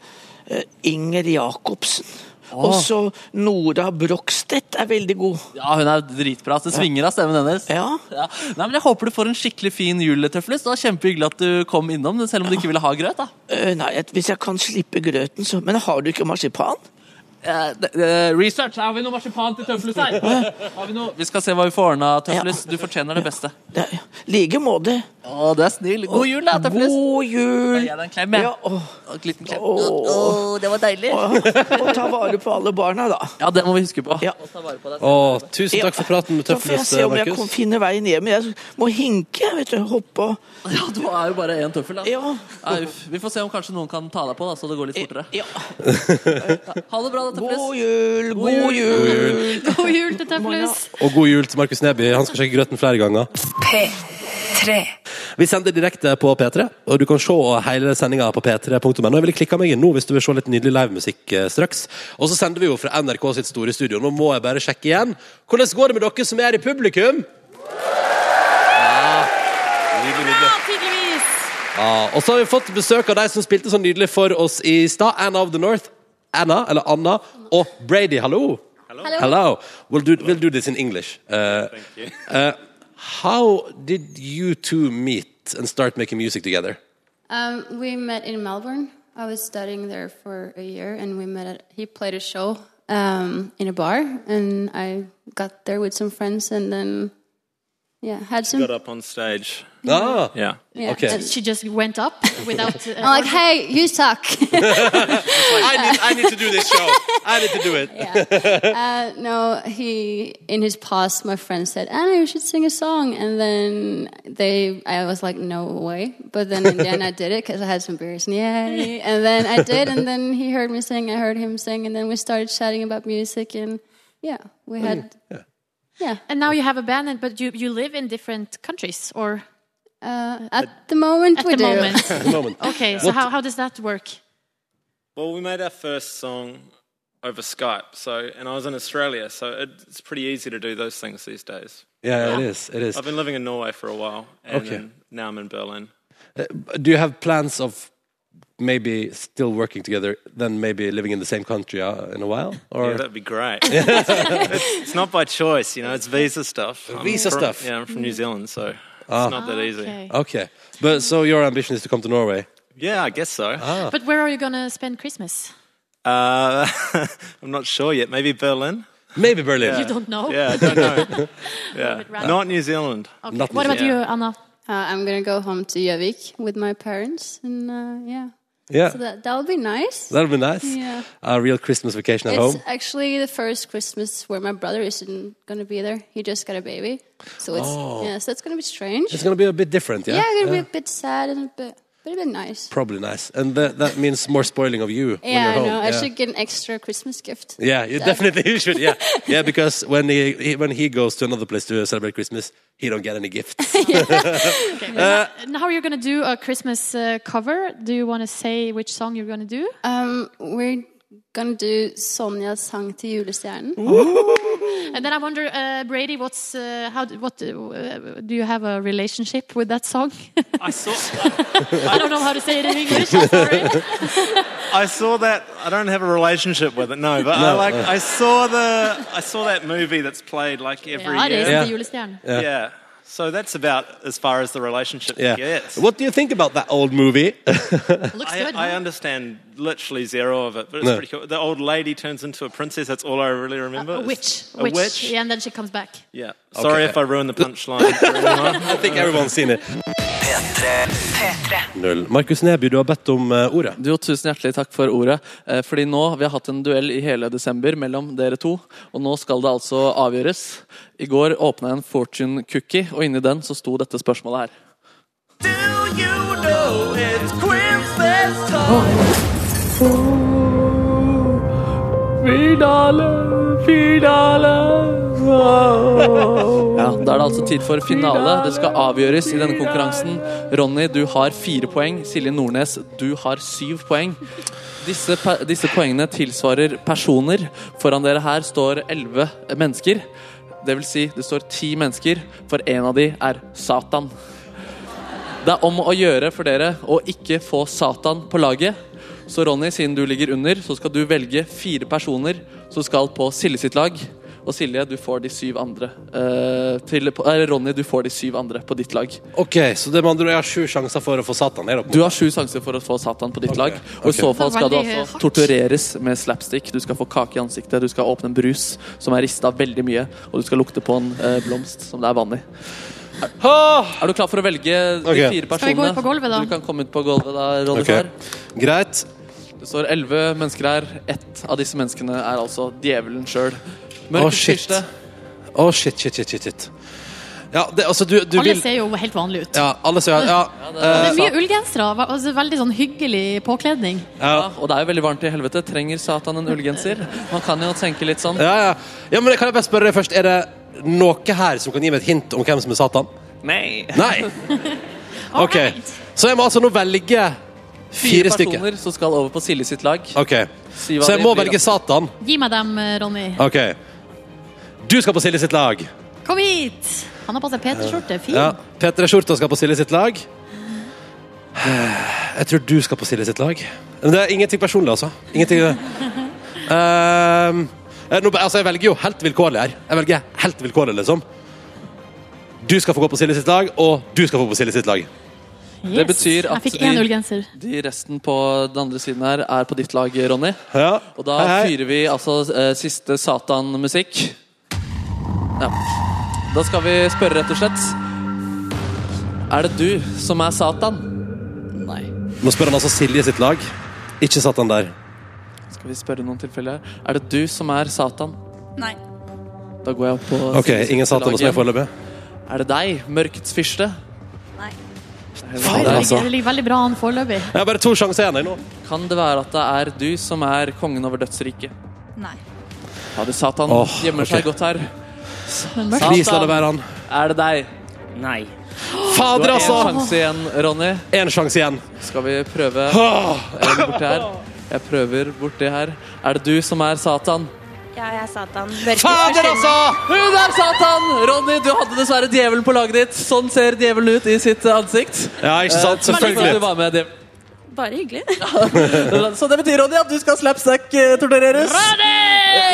S9: eh, Inger Jacobsen. Og så Nora Brokstedt er veldig god.
S4: Ja, hun er dritbra. ass. Det svinger av stemmen hennes.
S9: Ja.
S4: Nei, men Jeg håper du får en skikkelig fin jul, Tøflus. Det var kjempehyggelig at du kom innom, selv om du ikke ville ha grøt. da.
S9: Eh, nei, jeg- hvis jeg kan slippe grøten, så Men har du ikke marsipan?
S4: Eh, det- eh, research, har vi noe marsipan til Tøflus her? Har vi, noe? vi skal se hva vi får ordna, Tøflus. Du fortjener det beste.
S9: Det er, like måte.
S4: Å, du er snill. God jul, da, Tøflus.
S9: God jul!
S4: Gi deg en klem, jeg.
S9: Ja, og,
S4: Og en liten klem.
S9: Åh.
S4: Å, det var deilig.
S9: og ta vare på alle barna, da.
S4: Ja, det må vi huske på.
S9: Ja.
S2: Å, tusen takk for praten med
S9: Så får jeg
S2: Tøffelnes,
S9: se om jeg kan
S2: Markus.
S9: finne veien hjem. Jeg må hinke, vet du. Hoppe og
S4: Ja, du er jo bare én tøffel, da.
S9: Ja.
S4: Nei, uff. vi får se om kanskje noen kan ta deg på, da, så det går litt fortere.
S9: ja.
S4: Ha det bra, da,
S9: God
S4: Tøfles.
S9: jul, god jul!
S3: God jul til Tøflus.
S2: Og god jul til Markus Neby. Han skal sjekke grøten flere ganger.
S6: P3.
S2: Vi sender direkte på P3, og du kan se hele sendinga på p3.no. Jeg ville klikka meg inn nå hvis du vil se litt nydelig livemusikk eh, straks. Og så sender vi jo fra NRK sitt store studio. Nå må jeg bare sjekke igjen. Hvordan går det med dere som er i publikum? Ja, nydelig, nydelig.
S3: Ja, tydeligvis.
S2: Ja, og så har vi fått besøk av de som spilte så nydelig for oss i stad. Anna of the North. Anna, eller Anna, og Brady, hallo. Hello. We'll, do, we'll do this in English. Uh, uh, how did you two meet and start making music together?
S11: Um, we met in Melbourne. I was studying there for a year, and we met. At, he played a show um, in a bar, and I got there with some friends, and then yeah, had some.
S12: up on stage.
S2: Ah,
S12: Yeah.
S11: Yeah,
S2: okay.
S11: and-
S3: She just went up without uh,
S11: I'm like, hey, you suck.
S2: I, need, I need to do this show. I need to do it.
S11: no, he in his past, my friend said, "Anna, you should sing a song," and then they, I was like, "No way!" But then in the end, I did it because I had some beers, and yay! And then I did, and then he heard me sing, I heard him sing, and then we started chatting about music, and yeah, we had, yeah.
S3: And now you have a band, and- but you, you live in different countries, or
S11: Uh, at the moment,
S3: at
S11: we
S3: the
S11: do.
S3: moment.
S2: At the moment.
S3: Okay, so how, how does that work?
S13: Well, we made our first song over Skype, so and I was in Australia, so it, it's pretty easy to do those things these days.
S2: Yeah, it is. It is.
S13: I've been living in Norway for a while, and
S2: Okay.
S13: then now I'm in Berlin.
S2: Do you have plans of maybe still working together, then maybe living in the same country uh, in a while? Or
S13: Yeah, that'd be great. it's, it's not by choice, you know. It's visa stuff. I'm
S2: Visa
S13: from-
S2: stuff. Ah.
S13: Yeah, I'm from New Zealand, so it's not that
S11: Ah,
S13: easy.
S3: Okay.
S2: Okay. But so your ambition is to come to Norway?
S13: Yeah, I guess so.
S3: But where are you gonna spend Christmas?
S13: Uh, I'm not sure yet. Maybe Berlin.
S2: Maybe Berlin.
S3: You don't know.
S13: Yeah, I don't know. yeah,
S3: random.
S13: not New Zealand.
S3: Okay.
S2: Not
S3: What about
S13: easy.
S3: you, Anna?
S11: Uh, I'm gonna go home to Jövik with my parents, and uh, yeah,
S2: Yeah.
S11: so that that'll be nice.
S2: That'll be nice.
S11: Yeah.
S2: A real Christmas vacation at
S11: It's
S2: home.
S11: actually the first Christmas where my brother isn't going to be there. He just got a baby, so it's yeah, so it's going to be strange.
S2: It's going to be a bit different, Oh. yeah?
S11: yeah, it's going to be a bit sad and a bit
S10: But it'd been nice.
S2: Probably nice. And that, that means more spoiling of you when
S10: Yeah, I
S2: you're home.
S10: know. I
S2: Yeah.
S10: should get an extra Christmas gift.
S2: Yeah, you definitely you should. Yeah, yeah, because when he, he when he goes to another place to celebrate Christmas, he don't get any gifts.
S3: Okay,
S2: Uh,
S3: now how are you going to do a Christmas uh, cover? Do you want to say which song you're going to do?
S10: Um, we're gonna do Sonja's sang til julestjernen.
S3: And then I wonder, uh, Brady, what's uh, how? d- What do- uh, do you have a relationship with that song?
S14: I saw.
S3: I don't know how to say it in English. I'm sorry.
S14: I saw that. I don't have a relationship with it, no. But I
S2: No,
S14: like.
S2: no.
S14: I saw the. I saw that movie that's played like every
S3: Ja, det
S14: year.
S3: er
S2: Yeah.
S3: Til julestjernen.
S2: Yeah.
S14: Yeah. So that's about as far as the relationship
S2: Yeah.
S14: gets.
S2: What do you think about that old movie?
S3: Looks
S14: I,
S3: good.
S14: I understand literally zero of it, but it's
S2: No.
S14: pretty cool. The old lady turns into a princess. That's all I really remember.
S3: a
S14: is-
S3: witch.
S14: A
S3: witch.
S14: witch.
S3: Yeah, and then she comes back.
S14: Yeah. Sorry if I ruined the punchline. for
S2: I
S14: anyone.
S2: think everyone's seen it.
S7: P3.
S2: Null. Markus Neby, du har bedt om eh, ordet.
S4: Du, tusen hjertelig takk for ordet. Eh, Fordi nå, Vi har hatt en duell i hele desember mellom dere to, og nå skal det altså avgjøres. I går åpna jeg en fortune cookie, og inni den så sto dette spørsmålet her. Finale, finale Ja, Da er det altså tid for finale. Det skal avgjøres i denne konkurransen. Ronny, du har fire poeng. Silje Nordnes, du har syv poeng. Disse, pe- disse poengene tilsvarer personer. Foran dere her står elleve mennesker. Det vil si, det står ti mennesker, for en av de er Satan. Det er om å gjøre for dere å ikke få Satan på laget. Så Ronny, siden du ligger under, så skal du velge fire personer som skal på Silje sitt lag. Og Silje, du får de syv andre eh, til, på- eh, Ronny, du får de syv andre på ditt lag.
S2: Ok, så det med andre ord, jeg har sju sjanser for å få Satan her oppe.
S4: Du har sju sjanser for å få Satan på ditt
S2: Ok,
S4: lag. Og i
S2: ok.
S4: så fall skal du
S3: Veldig
S4: altså
S3: hardt.
S4: tortureres med slapstick. Du skal få kake i ansiktet, du skal åpne en brus som er rista veldig mye, og du skal lukte på en eh, blomst som det er vann i.
S2: Ah!
S4: Er du klar for å velge de
S2: Ok.
S4: fire personene?
S3: Skal vi gå ut på gulvet, da?
S4: Du kan komme ut på gulvet da, Ronny.
S2: Ok.
S4: Skjær.
S2: Greit.
S4: Det står elleve mennesker her. Ett av disse menneskene er altså djevelen sjøl.
S2: Å, shit. Å, shit, shit, shit, shit, shit. Ja, det, altså, du, du
S3: Alle
S2: vil
S3: ser jo helt vanlige ut.
S2: Ja, alle ser Ja. eh,
S3: Det
S4: Ja,
S3: er mye ullgensere. va- Altså, veldig sånn hyggelig påkledning.
S2: ja.
S4: Og det er jo veldig varmt i helvete. Trenger Satan en ullgenser? Man kan jo tenke litt sånn.
S2: Ja, ja. ja, men kan jeg bare spørre deg først Er det noe her som kan gi meg et hint om hvem som er Satan?
S4: Nei.
S2: Nei? Ok
S3: Alright.
S2: Så jeg må altså nå velge
S4: Fire
S2: fire stykker
S4: personer som skal over på Silje sitt lag.
S2: Ok
S4: Si hva
S2: Så
S4: de
S2: jeg må
S4: blir, da.
S2: velge Satan
S3: Gi meg dem, eh, Ronny.
S2: Ok Du skal på Silje sitt lag
S3: Kom hit! Han har på seg P3-skjorte. Fin.
S2: ja. Petra Skjorta skal på Silje sitt lag Jeg tror du skal på Silje sitt lag Men det er ingenting personlig altså Ingenting Ehm, eh, nå, Altså jeg velger jo helt vilkårlig her Jeg velger helt vilkårlig liksom Du skal få gå på Silje sitt lag Og du skal få på Silje sitt lag
S4: Det betyr at
S3: Jeg fikk én
S4: de-
S3: ullgenser.
S4: De resten på den andre siden her er på ditt lag, Ronny.
S2: Ja.
S4: Og da
S2: Hei, hei.
S4: fyrer vi altså eh, siste Satan-musikk. Ja. Da skal vi spørre, rett og slett. Er det du som er Satan? Nei.
S2: Nå spør han altså Silje sitt lag. Ikke satt han der.
S4: Skal vi spørre noen tilfeller her? Er det du som er Satan?
S6: Nei.
S4: Da går jeg opp på
S2: Ok,
S4: siste
S2: Ingen Satan hos meg
S4: laget.
S2: foreløpig.
S4: Er det deg, mørkets fyrste?
S6: Nei.
S2: Faen,
S3: Det
S2: altså.
S3: ligger, det ligger veldig bra an foreløpig.
S2: Jeg har bare to sjanser igjen. jeg, nå.
S4: Kan det være at det er du som er kongen over dødsriket?
S6: Nei.
S4: Ja, du, Satan
S2: Åh,
S4: gjemmer
S2: ok.
S4: seg godt her.
S3: Men mørkt.
S4: Satan.
S2: Please, la det være han.
S4: Er det deg?
S5: Nei.
S4: Du
S2: Fader,
S4: har én
S2: altså!
S4: sjanse igjen, Ronny.
S2: Én sjanse igjen.
S4: Skal vi prøve
S2: Åh,
S4: eh, bort her? Jeg prøver bort det her. Er det du som er Satan?
S15: Ja, jeg er Satan.
S2: Fader, altså!
S4: Hun er Satan! Ronny, du hadde dessverre djevelen på laget ditt. Sånn ser djevelen ut i sitt ansikt.
S2: Ja,
S4: Eh,
S2: ikke sant?
S4: Så, du
S2: Selvfølgelig.
S4: var med, djevel.
S15: Bare hyggelig.
S4: så det betyr, Ronny, at du skal slapstack-tortureres.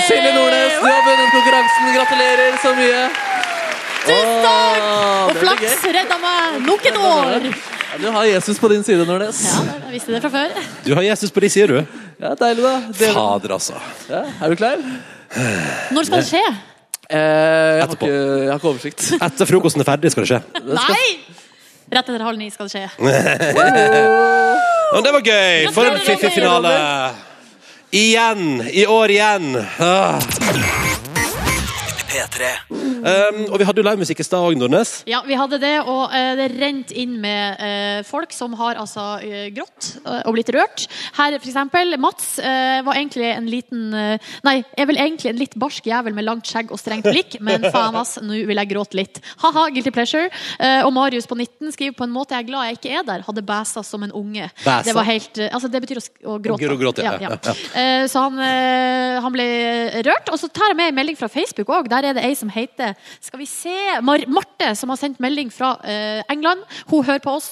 S4: Silje Nordnes, du har vunnet konkurransen. Gratulerer så mye. Tusen takk!
S3: Og flaks redda meg nok et år!
S4: Du har Jesus på din side, Nordnes.
S3: Ja, jeg visste det fra før.
S2: Du har Jesus på de sider, du.
S4: Ja, deilig, da. Djevelen.
S2: Fader, altså.
S4: Ja, er du klar?
S3: Når skal det skje?
S4: Eh, jeg, har
S2: Etterpå.
S4: ikke, jeg har ikke oversikt.
S2: Etter frokosten er ferdig, skal det skje.
S3: Nei! Rett etter halv ni skal det skje.
S2: Men det var gøy! For en fiffig finale. Igjen. I år igjen. Ah.
S1: P3.
S2: Um, og vi hadde jo livemusikk i stad òg, Nordnes.
S3: Ja, vi hadde det, og eh, det rent inn med eh, folk som har altså eh, grått eh, og blitt rørt. Her for eksempel, Mats eh, var egentlig en liten eh, Nei, er vel egentlig en litt barsk jævel med langt skjegg og strengt blikk, men faen ass, nå vil jeg gråte litt. Ha-ha, guilty pleasure. Eh, og Marius på 19 skriver på en måte jeg er glad jeg ikke er der, hadde bæsa som en unge.
S2: Bæsa?
S3: Det var helt eh, Altså, det betyr å, sk- å gråte.
S2: Å gråte, ja, ja, ja.
S3: Eh, Så han, eh, han ble rørt. Og så tar jeg med en melding fra Facebook òg. Der er det ei som heter Skal vi se Mar Marte, som har sendt melding fra eh, England. Hun hører på oss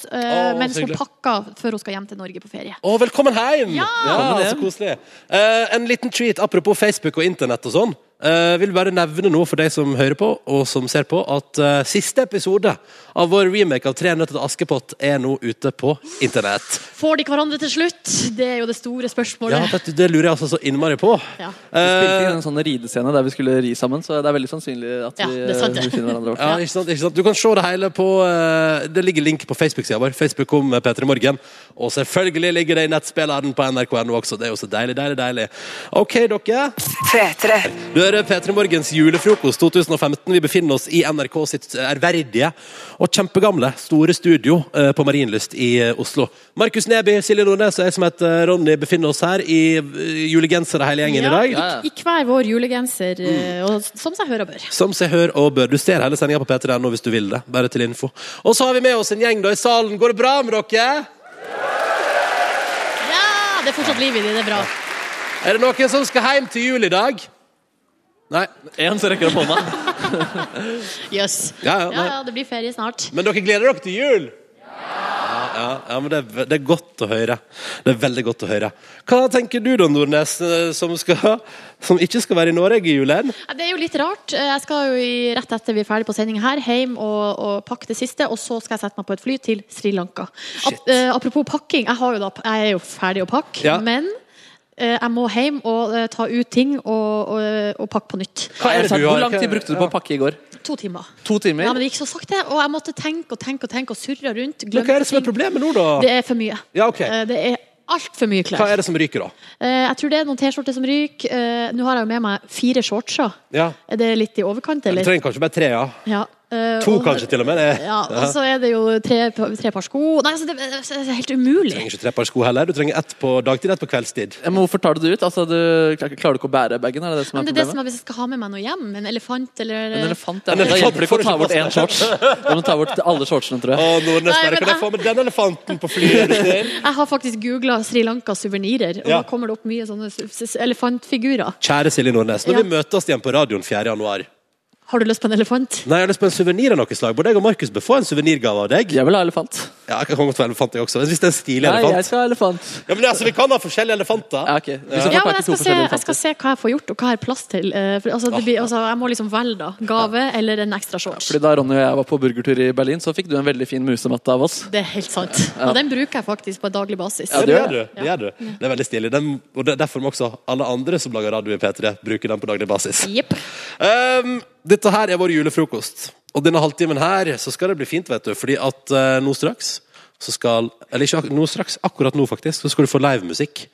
S2: Å,
S3: eh, mens
S2: så
S3: hun
S2: hyggelig.
S3: pakker før hun skal hjem til Norge på ferie.
S2: Å, velkommen hjem!
S3: Ja!
S2: Ja, så koselig. Eh, en liten treat apropos Facebook og internett og sånn. Eh, vil bare nevne noe for deg som hører på og som ser på, at eh, siste episode av vår remake av Tre nøtter til Askepott er nå ute på internett.
S3: Får de hverandre til slutt? Det er jo det store
S2: Ja,
S3: spørsmålet.
S2: vet du, det lurer jeg altså så innmari på. Eh,
S3: Ja.
S4: Vi spilte inn en sånn ridescene der vi skulle ri sammen, så det er veldig sannsynlig at
S3: Ja,
S4: vi
S3: det er sant,
S4: eh,
S3: det.
S4: finner hverandre.
S2: Ja, ikke sant, ikke sant? Du kan se det hele på eh, Det ligger link på Facebook-sida vår. Facebook om P3 Morgen. Og selvfølgelig ligger det i nettspilleren på nrk.no også. Det er jo så deilig, deilig, deilig. OK, dere.
S7: P3.
S2: Du hører P3 Morgens julefrokost 2015. Vi befinner oss i NRK sitt ærverdige og kjempegamle store studio eh, på Marienlyst i eh, Oslo. Markus Neby, Silje Nordnes og jeg som heter eh, Ronny, befinner oss her i eh, julegensere hele gjengen i dag. Mm.
S3: I, I hver vår julegenser, eh, og som seg hører og bør.
S2: Som seg hør og bør. Du ser hele sendinga på p3.no hvis du vil det. Bare til info. Og så har vi med oss en gjeng da i salen. Går det bra med dere?
S3: Ja, det er fortsatt liv i det, det er bra.
S2: Er det noen som skal hjem til jul i dag? Nei.
S4: Én som rekker opp hånda.
S3: Jøss.
S2: Ja, ja,
S3: Ja,
S2: nei.
S3: ja, det blir ferie snart.
S2: Men dere gleder dere til jul? Ja, ja, ja men det er, ve- det er godt å høre. Det er veldig godt å høre. Hva tenker du da, Nordnes, eh, som, skal, som ikke skal være i Norge i julen?
S3: Ja, Det er jo litt rart. Eh, Jeg skal jo i, rett etter vi er ferdig på sending her, hjem og, og pakke det siste, og så skal jeg sette meg på et fly til Sri Lanka. Ap eh, apropos pakking, jeg, har jo da, jeg er jo ferdig å pakke,
S2: Ja.
S3: men eh, jeg må hjem og eh, ta ut ting og, eh, og, og pakke på nytt.
S4: Hva er det du har- Hvor lang tid brukte du på å pakke i går?
S3: To timer.
S4: To timer?
S3: Ja, men det gikk så sakte, og jeg måtte tenke og tenke og tenke og surre rundt.
S2: Men hva er det som er problemet nå, da?
S3: Det er for mye.
S2: Ja, ok.
S3: Eh, Det er altfor mye klær.
S2: Hva er det som ryker, da?
S3: Eh, Jeg tror det er noen T-skjorter som ryker. Eh, Nå har jeg jo med meg fire shortser.
S2: Ja.
S3: Er det litt i
S2: Du
S3: overkant, eller?
S2: trenger kanskje bare tre, ja.
S3: Ja, eh,
S2: To
S3: og-
S2: kanskje til og med. det.
S3: Ja, og så er det jo tre, tre par sko Nei, altså, det, det er helt
S2: Du
S3: umulig.
S2: trenger ikke tre par sko heller. Du trenger ett på dagtid, ett på kveldstid.
S4: Ja, men hvorfor tar du det ut? Altså, du, klarer du ikke å bære bagen? Er det det som
S3: Men
S4: er
S3: det er det som
S4: problemet?
S3: er hvis jeg skal ha med meg noe hjem. En elefant eller
S4: En elefant, ja. men Da hjelper det ikke å ta bort én shorts. Da må du ta bort alle shortsene, tror jeg.
S2: Nordnes,
S3: Nei, bare, men kan jeg jeg-
S2: få med den elefanten på flyet?
S3: Jeg har faktisk googla Sri Lankas suvenirer, og
S2: Ja.
S3: da kommer det opp mye sånne s- s- elefantfigurer.
S2: Kjære Silje Nordnes, når
S3: Ja.
S2: vi møtes igjen på radioen 4. januar
S3: Har du lyst på en elefant?
S2: Nei, jeg har lyst på en suvenir av noe slag. Både jeg og Markus bør få en suvenirgave av deg.
S4: Jeg vil ha elefant.
S2: Ja, jeg kan godt få elefant, jeg også. Hvis det er en stilig
S4: Nei, jeg
S2: elefant.
S4: skal ha elefant.
S2: Ja, men altså, Vi kan ha forskjellige elefanter.
S4: Ja, ok. Hvis jeg
S3: Ja,
S4: får
S3: men
S4: pakke
S3: jeg
S4: to
S3: skal, se,
S4: forskjellige
S3: jeg
S4: elefanter.
S3: skal se hva jeg får gjort, og hva jeg har plass til. Eh, For, altså, det blir, altså, jeg må liksom velge, da. Gave eller en ekstra shorts.
S4: Fordi Da Ronny og jeg var på burgertur i Berlin, så fikk du en veldig fin musematte av oss.
S3: Det er helt sant.
S4: Ja.
S3: Og den bruker jeg faktisk på daglig basis.
S2: Ja, det gjør du. Det, gjør du. det er veldig stilig. Den, og det, derfor må også alle andre som lager radio i P3, bruke den på daglig basis.
S3: Jepp.
S2: Um, dette her er vår julefrokost. Og denne halvtimen her så skal det bli fint, vet du. Fordi at eh, nå straks så skal Eller ikke ak nå straks, akkurat nå, faktisk, så skal du få livemusikk.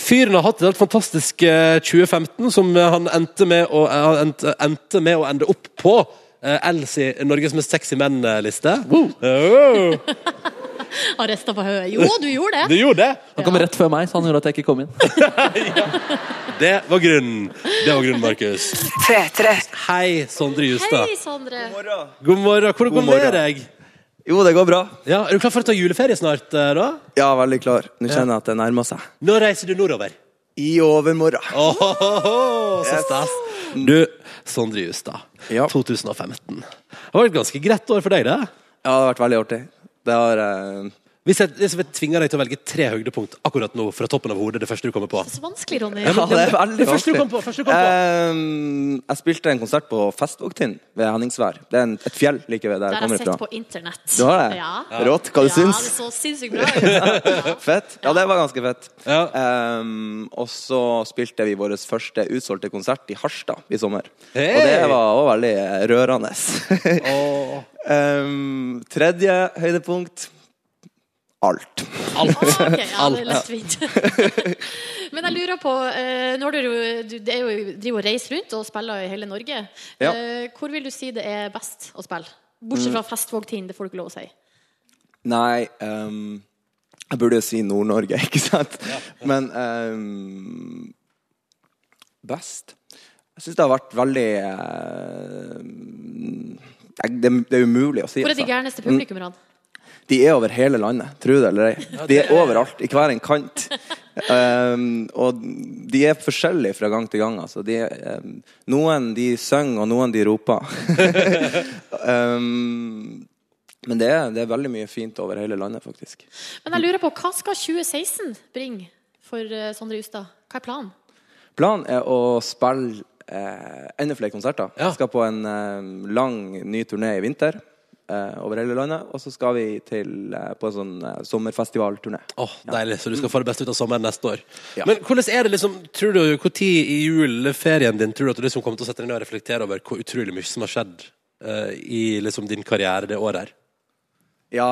S2: Fyren har hatt et helt fantastisk eh, 2015 som eh, han endte med å, eh, han endte, endte med å ende opp på. eh, Elsie, Norges mest sexy menn-liste. Oh.
S3: Har rista på hodet. Jo, du gjorde
S2: Du
S3: det.
S2: gjorde det!
S4: Han kom rett før meg, så han gjorde at jeg ikke kom inn.
S2: Det var grunnen. Det var grunnen, Markus. Hei, Sondre Justad.
S3: Hei, Sondre.
S2: God morgen. Hvordan
S16: God
S2: går det med
S16: morgen.
S2: deg?
S16: Jo, det går bra.
S2: Ja, er du klar for å ta juleferie snart, eh, da?
S16: Ja, veldig klar. Nå kjenner jeg at det nærmer seg.
S2: Når reiser du nordover?
S16: I overmorgen.
S2: så stas. Du, Sondre Justad. 2015. Det var et ganske greit år for deg, det.
S16: Ja, det har vært veldig artig. Det har eh,
S2: Hvis jeg, hvis jeg tvinger deg til å velge tre høydepunkt akkurat nå fra toppen av hodet, det første du kommer på.
S3: Så vanskelig, Ronny.
S16: ja, det er veldig
S2: Det første du kom på,
S16: vanskelig.
S2: første du kom på.
S16: Eh, jeg spilte en konsert på Festvågtind ved Henningsvær. Det er en, et fjell like ved
S3: Der
S16: der jeg
S3: har jeg
S16: kommer
S3: sett på
S16: fra.
S3: internett.
S16: Du har det?
S3: Ja.
S16: Rått. Hva du
S3: ja,
S16: syns?
S3: det så sinnssykt bra ut.
S16: fett. Ja, det var ganske fett. Ehm, og så spilte vi vår første utsolgte konsert i Harstad i sommer.
S2: Hey!
S16: Og det var også veldig rørende. Ehm, tredje høydepunkt alt.
S2: Alt.
S15: Ok, ja, det er
S2: Alt.
S15: lett fint. Men jeg lurer på eh, Nå har du, jo- du det er jo, driver og reiser rundt og spiller i hele Norge.
S16: Ja. Mm.
S15: Eh, Hvor vil du si det er best å spille? Bortsett fra Festvågtind, det får du ikke lov å si.
S16: Nei ehm, Jeg burde jo si Nord-Norge, ikke sant? Men ehm, Best? Jeg syns det har vært veldig ehm, det, er- det er umulig å si.
S15: Hvor er de
S16: altså.
S15: gærneste
S16: Mm,
S15: publikummerne?
S16: De er over hele landet, tro det eller ei. De er overalt, i hver en kant. Ehm, og de er forskjellige fra gang til gang. Altså. De, er, ehm, noen de synger, og noen de roper. Ehm, men det er, det er veldig mye fint over hele landet, faktisk.
S15: Men jeg lurer på, hva skal 2016 bringe for eh, Sondre Justad? Hva er planen?
S16: Planen er å spille eh, enda flere konserter. Vi skal på en eh, lang, ny turné i vinter eh, over hele landet. Og så skal vi til, eh, på en sånn eh, sommerfestivalturné.
S2: Åh, Deilig, så du skal få det beste ut av sommeren neste år. Men hvordan er det liksom Tror du, Hvor tid i juleferien din tror du at du liksom kommer til å sette deg ned og reflektere over hvor utrolig mye som har skjedd eh, i liksom din karriere det året her?
S16: Ja,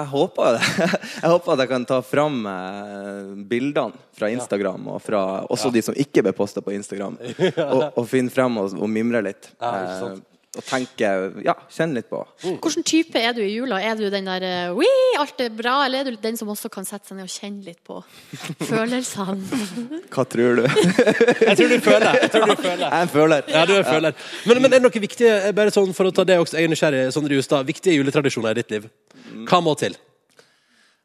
S16: jeg håper det. Jeg håper at jeg kan ta fram eh, bildene fra Instagram, og fra også de som ikke ble posta på Instagram, og, og finne frem og, og mimre litt.
S2: Ja, ikke sant.
S16: Eh, og tenke Ja, kjenne litt på.
S15: Hvilken type er du i jula? Er du den der eh, «Ui, alt er bra, eller er du den som også kan sette seg ned og kjenne litt på følelsene?
S16: Hva tror du?
S2: Jeg tror du føler Jeg tror du føler
S16: Jeg er en føler.
S2: Ja, du er en føler. Men, men er det noe viktig eh, Bare sånn for å ta det også, jeg er nysgjerrig, eh, Sondre Justad. Viktige juletradisjoner i ditt liv. Hva må til?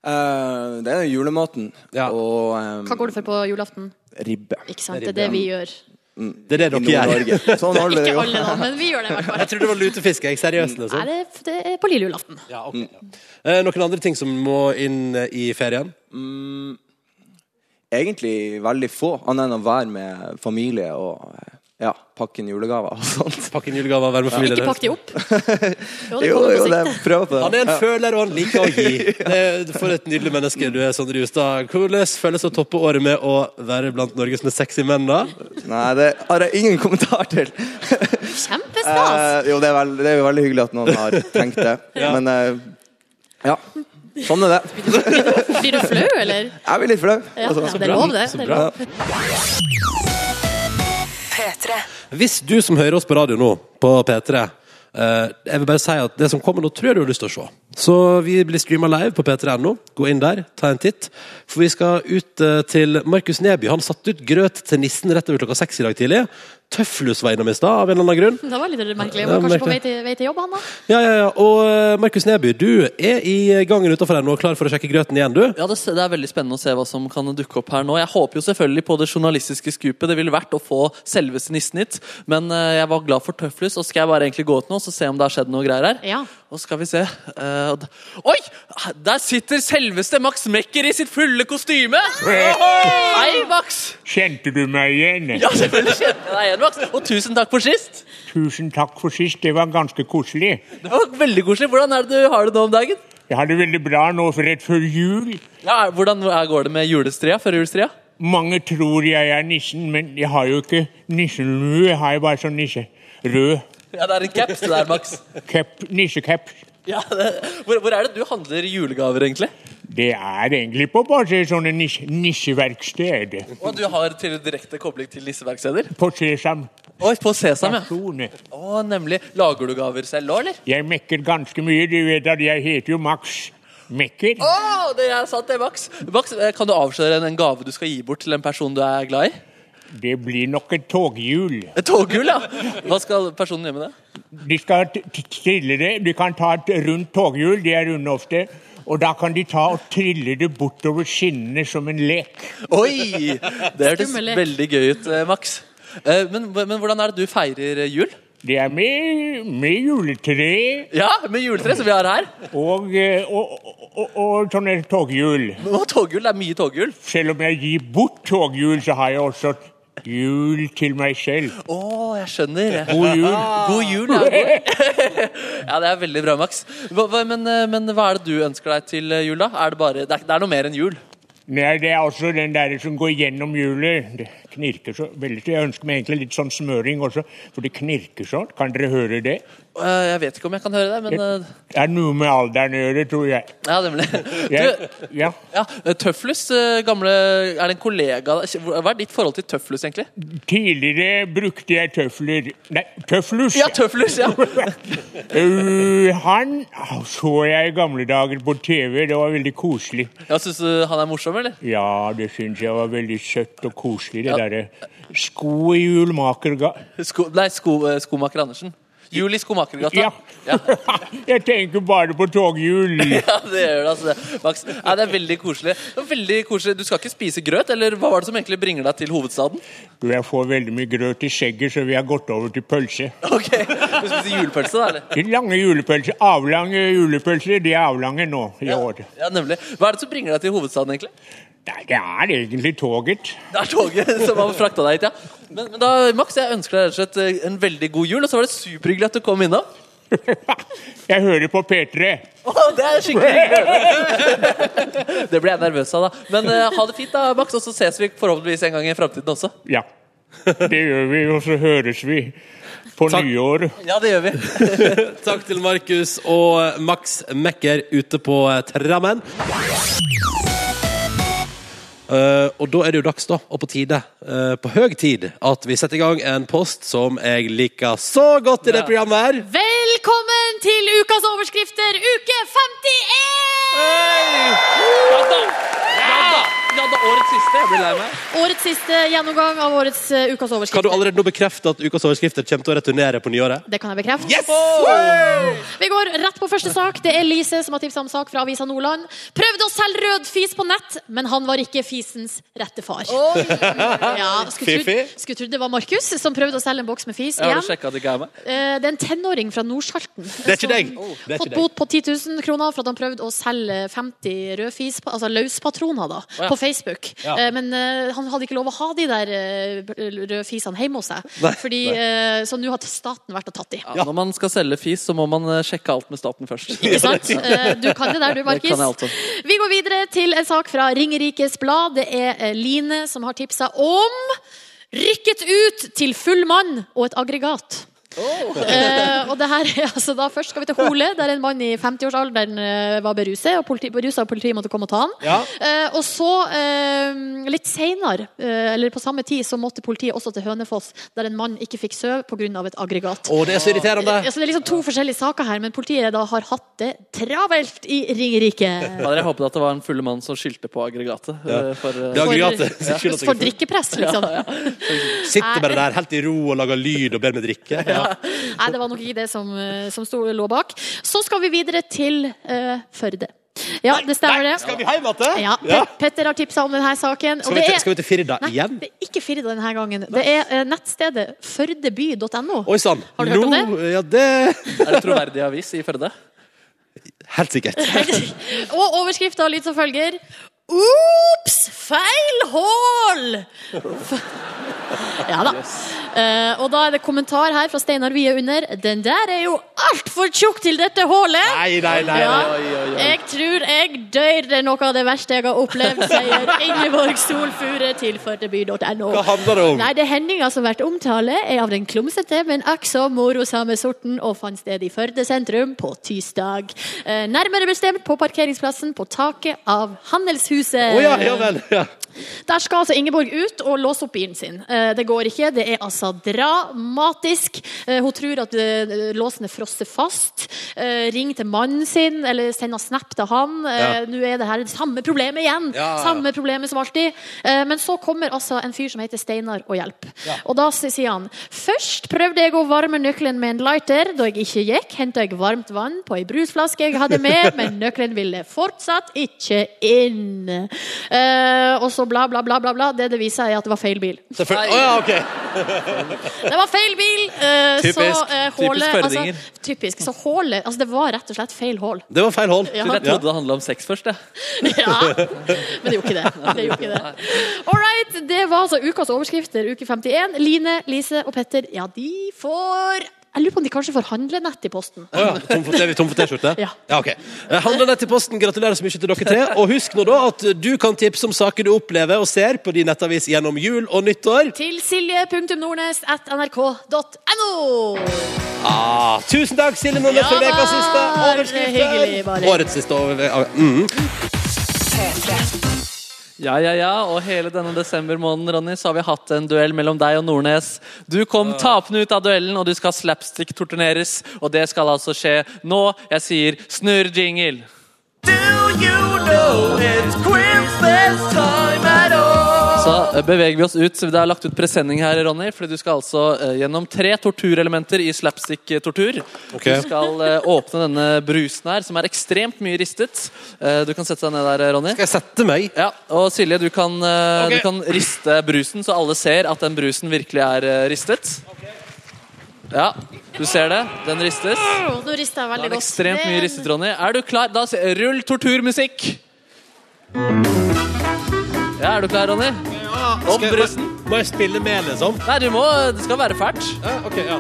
S16: Eh, det er julematen og eh,
S15: Hva går du for på julaften?
S16: ribbe.
S15: Ikke sant, det er det vi gjør.
S16: Mm.
S2: Det er det
S16: I
S2: dere gjør.
S16: Nord-Norge. Sånn holder vi det
S15: Ikke
S16: godt.
S15: alle da, men vi gjør det i hvert fall.
S2: Jeg trodde det var lutefisk. Jeg.
S16: Mm.
S2: Seriøst.
S15: Nei,
S2: Liksom.
S15: det, er- det er på lille julaften.
S2: Eh, noen andre ting som må inn eh, i ferien?
S16: Mm, egentlig veldig få, annet enn å være med familie og eh, ja, pakke inn julegaver og sånt.
S2: Pakke inn julegaver, være med familie, Ikke det pakk
S15: de opp?
S16: jo, jo, det prøv på det.
S2: Han er en
S16: Ja.
S2: føler, og han liker å gi. Det er for et nydelig menneske du er, Sondre Justad. Hvordan føles det å toppe året med å være blant Norges mest sexy menn, da?
S16: Nei, det har jeg ingen kommentar til.
S15: Kjempestas!
S16: Eh, jo, det er, veld, det er jo veldig hyggelig at noen har tenkt det,
S15: Ja.
S16: men eh, ja. Sånn er det.
S15: Blir
S2: Eh.
S15: du flau, eller?
S16: Jeg blir litt flau. Altså,
S15: Ja, ja, det er lov, det. det er lov.
S2: Hvis du som hører oss på radio nå, på P3 eh, Jeg vil bare si at det som kommer nå, tror jeg du har lyst til å se. Så vi blir streama live på p3.no. Gå inn der, ta en titt. For vi skal ut eh, til Markus Neby. Han satte ut grøt til nissen rett over klokka seks i dag tidlig. Tøflus var innom i stad, av en eller annen grunn.
S15: Det var litt merkelig.
S2: Ja,
S15: Var kanskje på vei
S2: merkelig.
S15: til, vei til jobb, han da?
S2: Ja, ja, ja. Og eh, Markus Neby, du er i gangen utenfor her nå, klar for å sjekke grøten igjen, du?
S4: Ja, det, det er veldig spennende å se hva som kan dukke opp her nå. Jeg håper jo selvfølgelig på det journalistiske skupet det ville vært å få selveste nissen hit. Men eh, jeg var glad for tøflus, og skal jeg bare egentlig gå ut nå og se om det har skjedd noe greier her?
S15: Ja.
S4: Og skal vi se eh, og d- Oi! Der sitter selveste Max Mekker i sitt fulle kostyme! Hei, Max!
S11: Kjente du meg igjen?
S4: Ja, selvfølgelig kjente jeg deg igjen, Max. Og tusen takk for sist.
S11: Tusen takk for sist, det var ganske koselig.
S4: Det var veldig koselig. Hvordan er det du har det nå om dagen?
S11: Jeg har det veldig bra nå for rett før jul.
S4: Ja, hvordan er- går det med julestria? Førjulstria?
S11: Mange tror jeg er nissen, men jeg har jo ikke nisselue, jeg har jo bare sånn nisserød
S4: Ja, det er en caps det der, Max.
S11: cap, nissecap.
S4: Ja, det, hvor, hvor er det du handler julegaver, egentlig?
S11: Det er egentlig på bare sånne nisse, nisseverksted.
S4: Og du har til direkte kobling til nisseverksteder?
S11: På Sesam.
S4: Oi, på Sesam, ja.
S11: Stasjoner.
S4: Å, nemlig. Lager du gaver selv òg, eller?
S11: Jeg mekker ganske mye, du vet at jeg heter jo Max Mekker.
S4: Å, det er sant, det, Max. Max, eh, Kan du avsløre en, en gave du skal gi bort til en person du er glad i?
S11: Det blir nok et toghjul.
S4: Et toggull, ja. Hva skal personen gjøre med det?
S11: De skal t- t- trille det. De kan ta et rundt toghjul, de er runde ofte. Og da kan de ta og trille det bortover skinnene som en lek.
S4: Oi! Det hørtes
S11: Skummel lek.
S4: veldig gøy ut, eh, Max. Eh, Men, men hvordan er det du feirer eh, jul?
S11: Det er med, med juletre.
S4: Ja, med juletre som vi har her.
S11: Og, eh, og, og, og, og sånne toghjul.
S4: Og toghjul, det er mye toghjul.
S11: Selv om jeg gir bort toghjul, så har jeg også et jul til meg selv.
S4: Å, jeg skjønner.
S11: God jul.
S4: God jul, ja. God- ja, det er veldig bra, Max. Hva, hva, men, eh, men hva er det du ønsker deg til eh, jul, da? Er det, bare, det, er, det er noe mer enn jul.
S11: Nei, det er også den der som går gjennom hjulet. Det- knirker så veldig. Så jeg ønsker meg egentlig litt sånn smøring også, for det knirker sånn. Kan dere høre det?
S4: Eh, Jeg vet ikke om jeg kan høre det, men eh,
S11: Det er noe med alderen å gjøre, tror jeg.
S4: Ja, nemlig.
S11: Jeg-
S4: Du,
S11: ja.
S4: Tøflus, eh, gamle Er det en kollega Hva er ditt forhold til Tøflus, egentlig?
S11: Tidligere brukte jeg tøfler Nei, tøflus!
S4: Ja, Tøflus, ja.
S11: Uh, han så jeg i gamle dager på TV. Det var veldig koselig.
S4: Ja, Syns du han er morsom, eller?
S11: Ja, det syns jeg var veldig søtt og koselig, det derre sko i julmakerga...
S4: Sko, nei, sko, eh, Skomaker Andersen. Juli Skomakergata.
S11: Ja. jeg tenker bare på toghjul.
S4: Ja, det gjør det, altså. det. Max. Nei, det er veldig koselig. Det er veldig koselig. Du skal ikke spise grøt, eller hva var det som egentlig bringer deg til hovedstaden?
S11: Du, jeg får veldig mye grøt i skjegget, så vi har gått over til pølse.
S4: Ok, Du spiser julepølse, da? eller?
S11: De lange julepølser, avlange julepølser, de er avlange nå i år.
S4: Ja, nemlig. Hva er det som bringer deg til hovedstaden, egentlig?
S11: Nei, det er egentlig toget.
S4: Det er toget som har frakta deg hit, ja. Men, men da, Max, jeg ønsker deg rett og slett eh, en veldig god jul, og så var det superhyggelig at du kom innom.
S11: Jeg hører på P3.
S4: Å, det er skikkelig hyggelig. Det ble jeg nervøs av, da. Men eh, ha det fint, da, Max, og så ses vi forhåpentligvis en gang i framtiden også.
S11: Ja, det gjør vi, og så høres vi på nyåret.
S4: Ja, det gjør vi.
S2: Takk til Markus og Max Mekker ute på eh, trammen. Eh, og da er det jo dags, da, og på tide, eh, på høg tid, at vi setter i gang en post som jeg liker så godt i det programmet her.
S3: Velkommen til ukas overskrifter, uke 51!
S4: Ja, det er årets siste. Jeg blir lei meg.
S3: Årets siste gjennomgang av årets eh, ukas
S2: Kan du
S3: overskrifter.
S2: allerede nå bekrefte at ukas overskrifter kommer til å returnere på nyåret?
S3: Det kan jeg bekrefte.
S2: Yes!
S3: Woo! Vi går rett på første sak. Det er Lise som har tipsa om sak fra avisa Nordland. Prøvde å selge rød fis på nett, men han var ikke fisens rette far. Ja, skulle
S4: Fifi?
S3: trodd- skulle trodd det var Markus som prøvde å selge en boks med fis
S4: Ja, Har
S3: igjen.
S4: du sjekka at det ikke er meg?
S3: Eh, Det er en tenåring fra Nordsalten.
S4: Det er ikke deg. Oh,
S3: som
S4: Det er ikke
S3: Fått
S4: deg.
S3: bot på 10 000 kroner for at han prøvde å selge 50 rødfis, altså løspatroner, da,
S15: Å, ja.
S3: på Facebook.
S15: Ja.
S3: Eh, Men eh, han hadde ikke lov å ha de der eh, rødfisene hjemme hos seg.
S4: Nei,
S3: Fordi,
S4: nei.
S3: eh, så nå har staten vært og tatt de.
S4: Når man skal selge fis, så må man eh, sjekke alt med staten først.
S3: Ikke sant? Eh, Du kan det der, du, Markus.
S4: Det kan jeg altså.
S3: Vi går videre til en sak fra Ringerikes Blad. Det er eh, Line som har tipsa om Rykket ut til full mann og et aggregat. Eh, og det her er altså da Først skal vi til Hole, der en mann i 50-årsalderen eh, var beruset. Og politi, beruset, og politiet måtte komme og ta han.
S15: Ja.
S3: Eh, og så, eh, litt seinere, eh, eller på samme tid, så måtte politiet også til Hønefoss, der en mann ikke fikk sove pga. et aggregat.
S2: Å, det er så irriterende.
S3: Ja, så det er liksom to forskjellige saker her, men politiet da har hatt det travelt i Ringerike.
S4: Hadde jeg håpet at det var en fulle mann som skyldte på aggregatet. eh, For, eh,
S2: Det er aggregatet.
S4: Ja.
S2: Skyld at jeg er
S3: For
S2: full.
S3: drikkepress, liksom.
S4: Ja,
S2: Sitter bare der helt i ro og lager lyd og ber meg drikke. Ja.
S3: Nei, det var nok ikke det som, eh, som sto, lå bak. Så skal vi videre til eh, Førde. Ja, det stemmer det.
S2: Skal vi hjem igjen?
S3: Ja,
S2: Ja.
S3: Pet- Petter har tipsa om denne saken. og
S2: Skal vi
S3: det
S2: til,
S3: er-
S2: skal vi til Firda
S3: Nei,
S2: igjen?
S3: det er ikke Firda denne gangen. Det er eh, nettstedet førdeby.no.
S2: Oi sann.
S3: Har du hørt om
S2: Nå- Ja, det
S4: Er det troverdig avis i Førde?
S2: Helt sikkert.
S3: Og overskrifta lyd som følger Ops! Feil hål! Ja da. Eh, og da er det kommentar her fra Steinar Wie under. Den der er jo altfor tjukk til dette hullet!
S2: Nei, nei, nei,
S3: Ja.
S2: oi, oi, oi.
S3: Jeg tror jeg dør, det er noe av det verste jeg har opplevd, sier Ingeborg Solfure til førdeby.no.
S2: Hva handler det om?
S3: Nei, det er hendinga som blir omtale, er av den klumsete, men akk så morosame sorten, og fant sted i Førde sentrum på tirsdag. Eh, nærmere bestemt på parkeringsplassen på taket av Handelshuset.
S2: Å ja, ja vel. Ja.
S3: Der skal altså Ingeborg ut og låse opp bilen sin. Eh, Det går ikke. Det er altså dramatisk. Eh, Hun tror at eh, låsen er frosset fast. Eh, Ring til mannen sin, eller send en snap til han. Eh,
S15: Ja.
S3: Nå er det her det samme problemet igjen.
S15: Ja, ja, ja.
S3: Samme problemet som alltid. Eh, Men så kommer altså en fyr som heter Steinar og hjelper. Og da s- sier han Først prøvde jeg å varme nøkkelen med en lighter. Da jeg ikke gikk, henta jeg varmt vann på ei brusflaske jeg hadde med, men nøkkelen ville fortsatt ikke inn. Eh, og så bla, bla, bla, bla, bla. Det det viser, er at det var feil bil.
S2: Selvfølgelig. Å ja, OK.
S3: Det var feil bil! eh,
S2: Typisk.
S3: Så, eh,
S2: Typisk
S3: hålet,
S2: førdinger.
S3: altså, typisk. Så hålet Altså, det var rett og slett feil hål.
S2: Det var feil hål.
S3: Ja.
S4: Jeg trodde det handla om sex først. Jeg.
S3: Men det gjorde ikke det. det, gjorde ikke det. All right, det var altså ukas overskrifter, uke 51. Line, Lise og Petter, ja, de får Jeg lurer på om de kanskje får handlenett i posten.
S2: Å ja. Tom for, er vi tom for T-skjorte?
S3: Ja.
S2: ok. Eh, Handla nett til posten. Gratulerer så mye til dere tre. Og husk nå da at du kan tipse om saker du opplever og ser på din nettavis gjennom jul og nyttår.
S3: Til silje.nordnes.nrk.no.
S2: Ah, tusen takk, Silje Nordnes, for
S3: Ja da,
S2: ukas siste
S3: hyggelig
S2: overskrift.
S3: bare.
S2: Årets siste overskrift. Mm.
S4: Ja, ja, ja, og hele denne desembermåneden Ronny, så har vi hatt en duell mellom deg og Nordnes. Du kom tapende ut av duellen, og du skal slapstick-torturneres. Og det skal altså skje nå. Jeg sier snurr jingle. Så eh, beveger vi oss ut. så Det er lagt ut presenning her, Ronny. Fordi du skal altså eh, gjennom tre torturelementer i slapstick-tortur.
S2: Ok.
S4: Du skal eh, åpne denne brusen her, som er ekstremt mye ristet. Eh, Du kan sette deg ned der, Ronny.
S2: Skal jeg sette meg?
S4: Ja, Og Silje, du kan, eh,
S2: Ok.
S4: du kan riste brusen, så alle ser at den brusen virkelig er eh, ristet. Ja, du ser det. Den ristes.
S3: Åh, Nå rister
S4: Da
S3: jeg veldig
S4: er det
S3: godt.
S4: ekstremt
S3: Det-
S4: mye ristet, Ronny. Er du klar? Da s- rull torturmusikk! Ja, er du klar, Ronny? Om
S2: Skal jeg-
S4: brusen.
S2: Må jeg spille med, liksom?
S4: Nei, du må, det skal være fælt.
S2: Ja, ok, ja.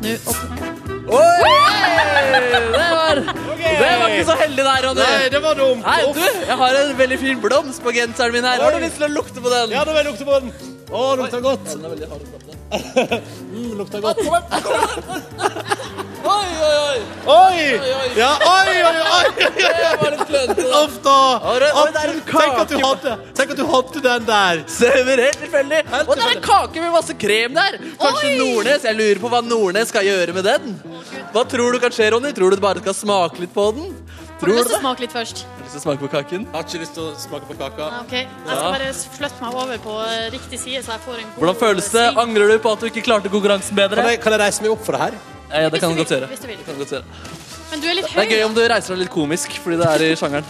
S3: Nå opp-
S4: Oi! Det var, det var ikke så heldig der, Ronny.
S2: Nei, det var dumt.
S4: Nei, du, jeg har en veldig fin blomst på genseren min her. Har du lyst til å lukte på den?
S2: Ja, nå vil jeg lukte på den. Å, lukter godt.
S4: Den er veldig hard og flott.
S2: Mm, lukter godt.
S4: Oi, oi, oi!
S2: Oi!
S4: oi.
S2: Ja, oi, oi, oi!
S4: Det var litt klønete. da.
S2: Uff, da.
S4: Oi, det- oi, det er en
S2: Tenk at du
S4: kake.
S2: hadde- Tenk at du hadde den der.
S4: Stemmer helt tilfeldig. Og det er en kake med masse krem der. Kanskje Nordnes. Jeg lurer på hva Nordnes skal gjøre med den. Hva tror du kan skje, Ronny? Tror du du bare skal smake litt på den?
S3: Får du
S4: Tror du
S3: lyst til å
S4: det?
S3: smake litt først?
S4: Har du lyst til å smake på kaken?
S2: Jeg har ikke lyst til å smake på kaka.
S3: Ja, Ok, Jeg skal bare flytte meg over på eh, riktig side, så jeg får en god
S4: Hvordan føles det? Angrer du på at du ikke klarte konkurransen bedre?
S2: Kan jeg, kan jeg reise meg opp for det her?
S4: Ja, ja, det kan du
S3: Hvis
S4: godt
S3: du vil,
S4: gjøre.
S3: hvis du vil.
S4: Det kan du godt gjøre.
S3: Men du er litt
S4: Det er gøy
S3: høy.
S4: om du reiser deg litt komisk, fordi det er i sjangeren.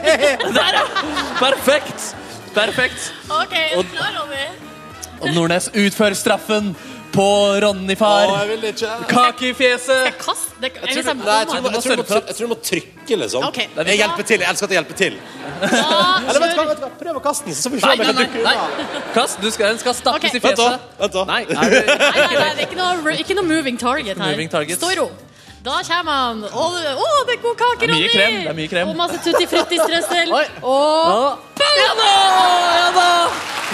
S4: Der, ja! Perfekt! Perfekt.
S3: OK, er
S4: Og-
S3: du klar, Ronny?
S4: Og Nordnes utfører straffen på Ronny far.
S2: Å, jeg vil ikke.
S4: Kake i fjeset.
S3: Kast det
S2: Jeg
S3: hvis
S2: tror, nei, jeg,
S3: jeg
S2: tror,
S3: bommer.
S2: jeg, tror du må, trykke- jeg tror du må trykke, liksom.
S3: Ok.
S2: Jeg hjelper til. Jeg elsker at jeg hjelper til.
S3: Da
S2: Eller vet du hva,
S3: kjører-
S2: vet du hva? prøv å kaste den, så får vi se
S4: Nei,
S2: om
S4: nei,
S2: jeg kan
S4: nei.
S2: dukke
S4: nei.
S2: unna.
S4: Kast, du skal, den skal stappes
S3: Ok.
S4: i
S2: Vent, da.
S4: fjeset.
S2: Vent, da.
S4: Nei, er du
S3: Nei, nei, nei, det er ikke noe, ikke noe moving target her.
S4: Moving target.
S3: Stå i ro. Da kommer han. Å, det- å, det er god kake,
S4: Det er mye
S3: Ronny!
S4: krem, det er mye krem.
S3: Og masse tutti frutti-strøssel.
S4: Oi.
S3: Og
S4: Ja. Ja da! Ja da!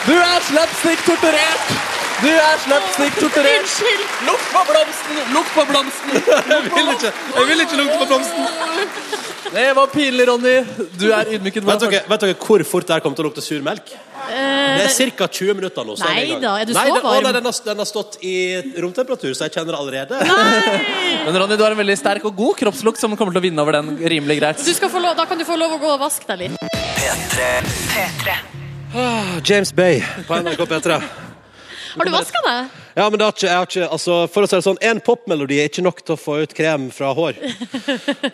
S4: Du er slapstick-torturert! Du er slapstick-torturert!
S3: Unnskyld!
S4: Lukt på blomsten! Lukt på blomsten!
S2: Jeg vil ikke, jeg vil ikke lukte på blomsten.
S4: Det var pinlig, Ronny. Du er ydmyket.
S2: Vet dere, vet dere hvor fort det her kommer til å lukte sur melk? Det
S3: eh,
S2: er ca. 20 minutter nå. så er vi i gang.
S3: Nei da, er du
S2: Nei,
S3: så
S2: den- å,
S3: varm?
S2: nei, den, har, den har stått i romtemperatur, så jeg kjenner det allerede.
S4: Men Ronny, du har en veldig sterk og god kroppslukt som kommer til å vinne over den rimelig greit.
S3: du skal få lov, da kan du få lov å gå og vaske deg litt.
S17: P3.
S2: Ah, James Bay på NRK P3.
S3: Har du vaska deg?
S2: Ja, men det har ikke, jeg har ikke, altså, for å si det sånn, En popmelodi er ikke nok til å få ut krem fra hår.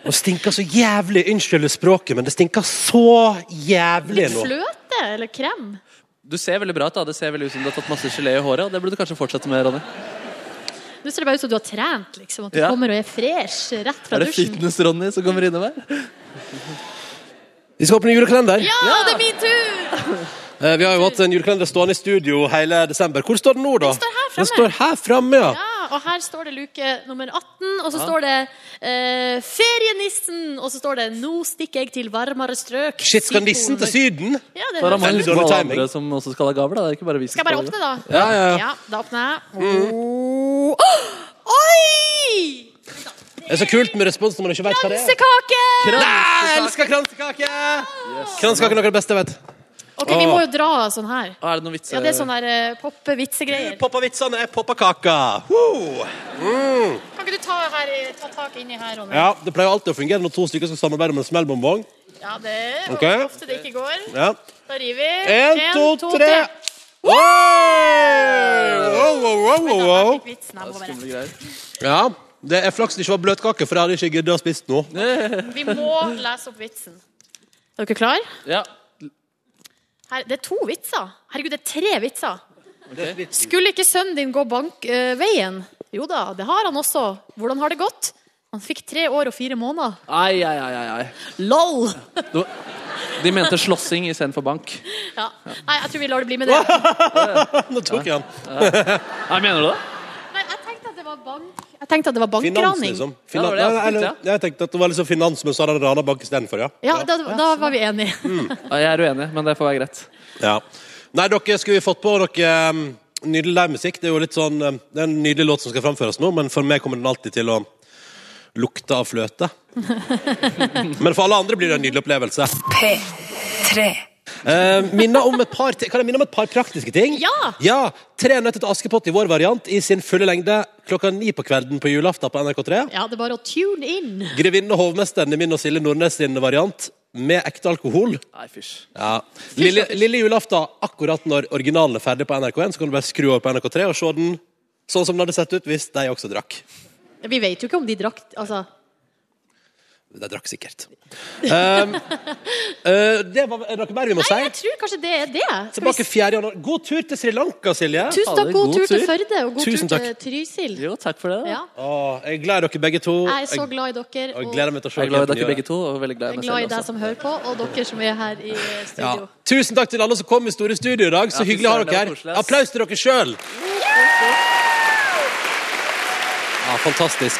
S2: Og stinker så jævlig. Unnskyld språket, men det stinker så jævlig
S3: Litt
S2: nå.
S3: fløte eller krem?
S4: Du ser veldig bra ut. da. Det ser veldig ut som du har tatt masse gelé i håret. og Det burde du kanskje fortsette med, Ronny.
S3: Nå ser det bare ut som du har trent, liksom. At du
S4: Ja.
S3: kommer og er fresh rett fra
S4: Er det
S3: dusjen.
S4: Fitness-Ronny som kommer innover?
S2: Vi skal åpne julekalender.
S3: Ja, det er min tur!
S2: Eh, Vi har jo hatt en julekalender stående i studio hele desember. Hvor står den nå, da? Den Den
S3: står her framme.
S2: står her framme, ja.
S3: Ja, og her står det luke nummer 18, og så
S2: Ja.
S3: står det eh, 'Ferienissen', og så står det 'Nå stikker jeg til varmere strøk'.
S2: Shit, skal
S3: Sier
S2: nissen til
S3: konen.
S2: Syden?
S3: Ja, det
S4: Da har
S3: er
S4: man
S2: Veldig
S4: litt på
S2: dårlig
S4: alle
S2: timing.
S4: andre som også skal ha gaver. da. Det er ikke bare vi som
S3: Skal jeg bare
S4: skal
S3: åpne, da?
S2: Ja, ja, ja.
S3: ja da åpner
S2: Mm.
S3: jeg. Og... Oi!
S2: Det er så kult med respons når man ikke vet hva det er.
S3: Kransekake!
S2: Nei, jeg elsker kransekake! Kransekake er noe av det beste jeg vet.
S3: OK, vi må jo dra sånn her.
S4: Å, er det noen vitser?
S3: Ja, det er sånn der eh, poppe-vitsegreier.
S2: Poppa vitsene er poppa kaka. Woo! Mm.
S3: Kan ikke du ta, her, i- ta tak inni her, Ronny?
S2: Ja, Det pleier alltid å fungere når to stykker skal samarbeide om en smellbonbong.
S3: Ja, det er
S2: Ok.
S3: ofte det ikke går.
S2: Ja.
S3: Da river vi.
S2: En,
S3: En,
S2: to, tre. Wow! Wow, wow, wow, wow, wow.
S3: Vitsen her må være
S4: Skumle greier.
S2: Ja, det er flaks det ikke var bløtkake, for jeg hadde ikke giddet å spise nå.
S3: Vi må lese opp vitsen. Er dere klare?
S4: Ja.
S3: Her, det er to vitser. Herregud, det er tre vitser.
S4: ok.
S3: Skulle ikke sønnen din gå bankveien? jo da, det har han også. Hvordan har det gått? Han fikk tre år og fire måneder.
S4: Ai, ai, ai, ai, ai.
S3: LOL!
S4: Du, de mente slåssing istedenfor bank.
S3: Ja. Nei, jeg tror vi lar det bli med det.
S2: Nå tok jeg den.
S4: Nei, Mener du det?
S3: Nei, jeg tenkte at bank. Jeg tenkte at det var bankraning.
S2: liksom. Finan ja, eller, jeg tenkte at det var liksom finans, men så hadde det rana bank istedenfor, ja.
S3: Ja, sånn. Mm. da, da var vi enige.
S2: Jeg er uenig, men det får være greit. Ja. Nei, dere skulle vi fått på dere um, nydelig livemusikk. Det er jo litt sånn um, Det er en nydelig låt som skal framføres nå, men for meg kommer den alltid til å lukte av fløte. men for alle andre blir det en nydelig opplevelse.
S6: P3.
S2: Eh, minner om et par, kan jeg minne om et par praktiske ting?
S6: Ja.
S2: Tre nøtter til Askepott i vår variant i sin fulle lengde klokka ni på kvelden på julaften på NRK3.
S3: Ja, det er bare å tune inn.
S2: Grevinnen og hovmesteren i min og Silje Nordnes sin variant med ekte alkohol.
S4: Nei, fysj.
S2: Ja. Lille, lille julaften, akkurat når originalen er ferdig på NRK1, så kan du bare skru over på NRK3 og se den sånn som den hadde sett ut hvis de også drakk.
S3: Vi vet jo ikke om de drakk Altså,
S2: De drakk sikkert. Um, eh, det var, er det noe mer vi må
S3: nei, jeg
S2: si?
S3: tror kanskje det er det. Skal vi
S2: Tilbake 4. januar. God tur til Sri Lanka, Silje.
S3: Tusen takk, god tur til Førde og god
S2: Tusen
S3: tur
S2: takk.
S3: til Trysil.
S4: Jo, takk for det.
S3: Ja.
S2: Åh, jeg er glad i dere begge to.
S3: Jeg er så glad i dere,
S2: og
S3: og
S2: gleder meg til å se
S4: Jeg er glad i
S2: hva
S4: dere
S2: gjør.
S4: begge to, og veldig glad i
S3: jeg er
S4: meg
S3: glad i
S4: selv
S3: deg
S4: også.
S3: som hører på, og dere som er her i
S2: Ja.
S3: studio.
S2: Tusen takk til alle som kom i Store studio i dag. Så
S3: Ja,
S2: hyggelig å ha
S3: fy
S2: dere
S3: søren, det var
S2: her.
S3: koselig, ass.
S2: Applaus til dere sjøl! Ja, fantastisk.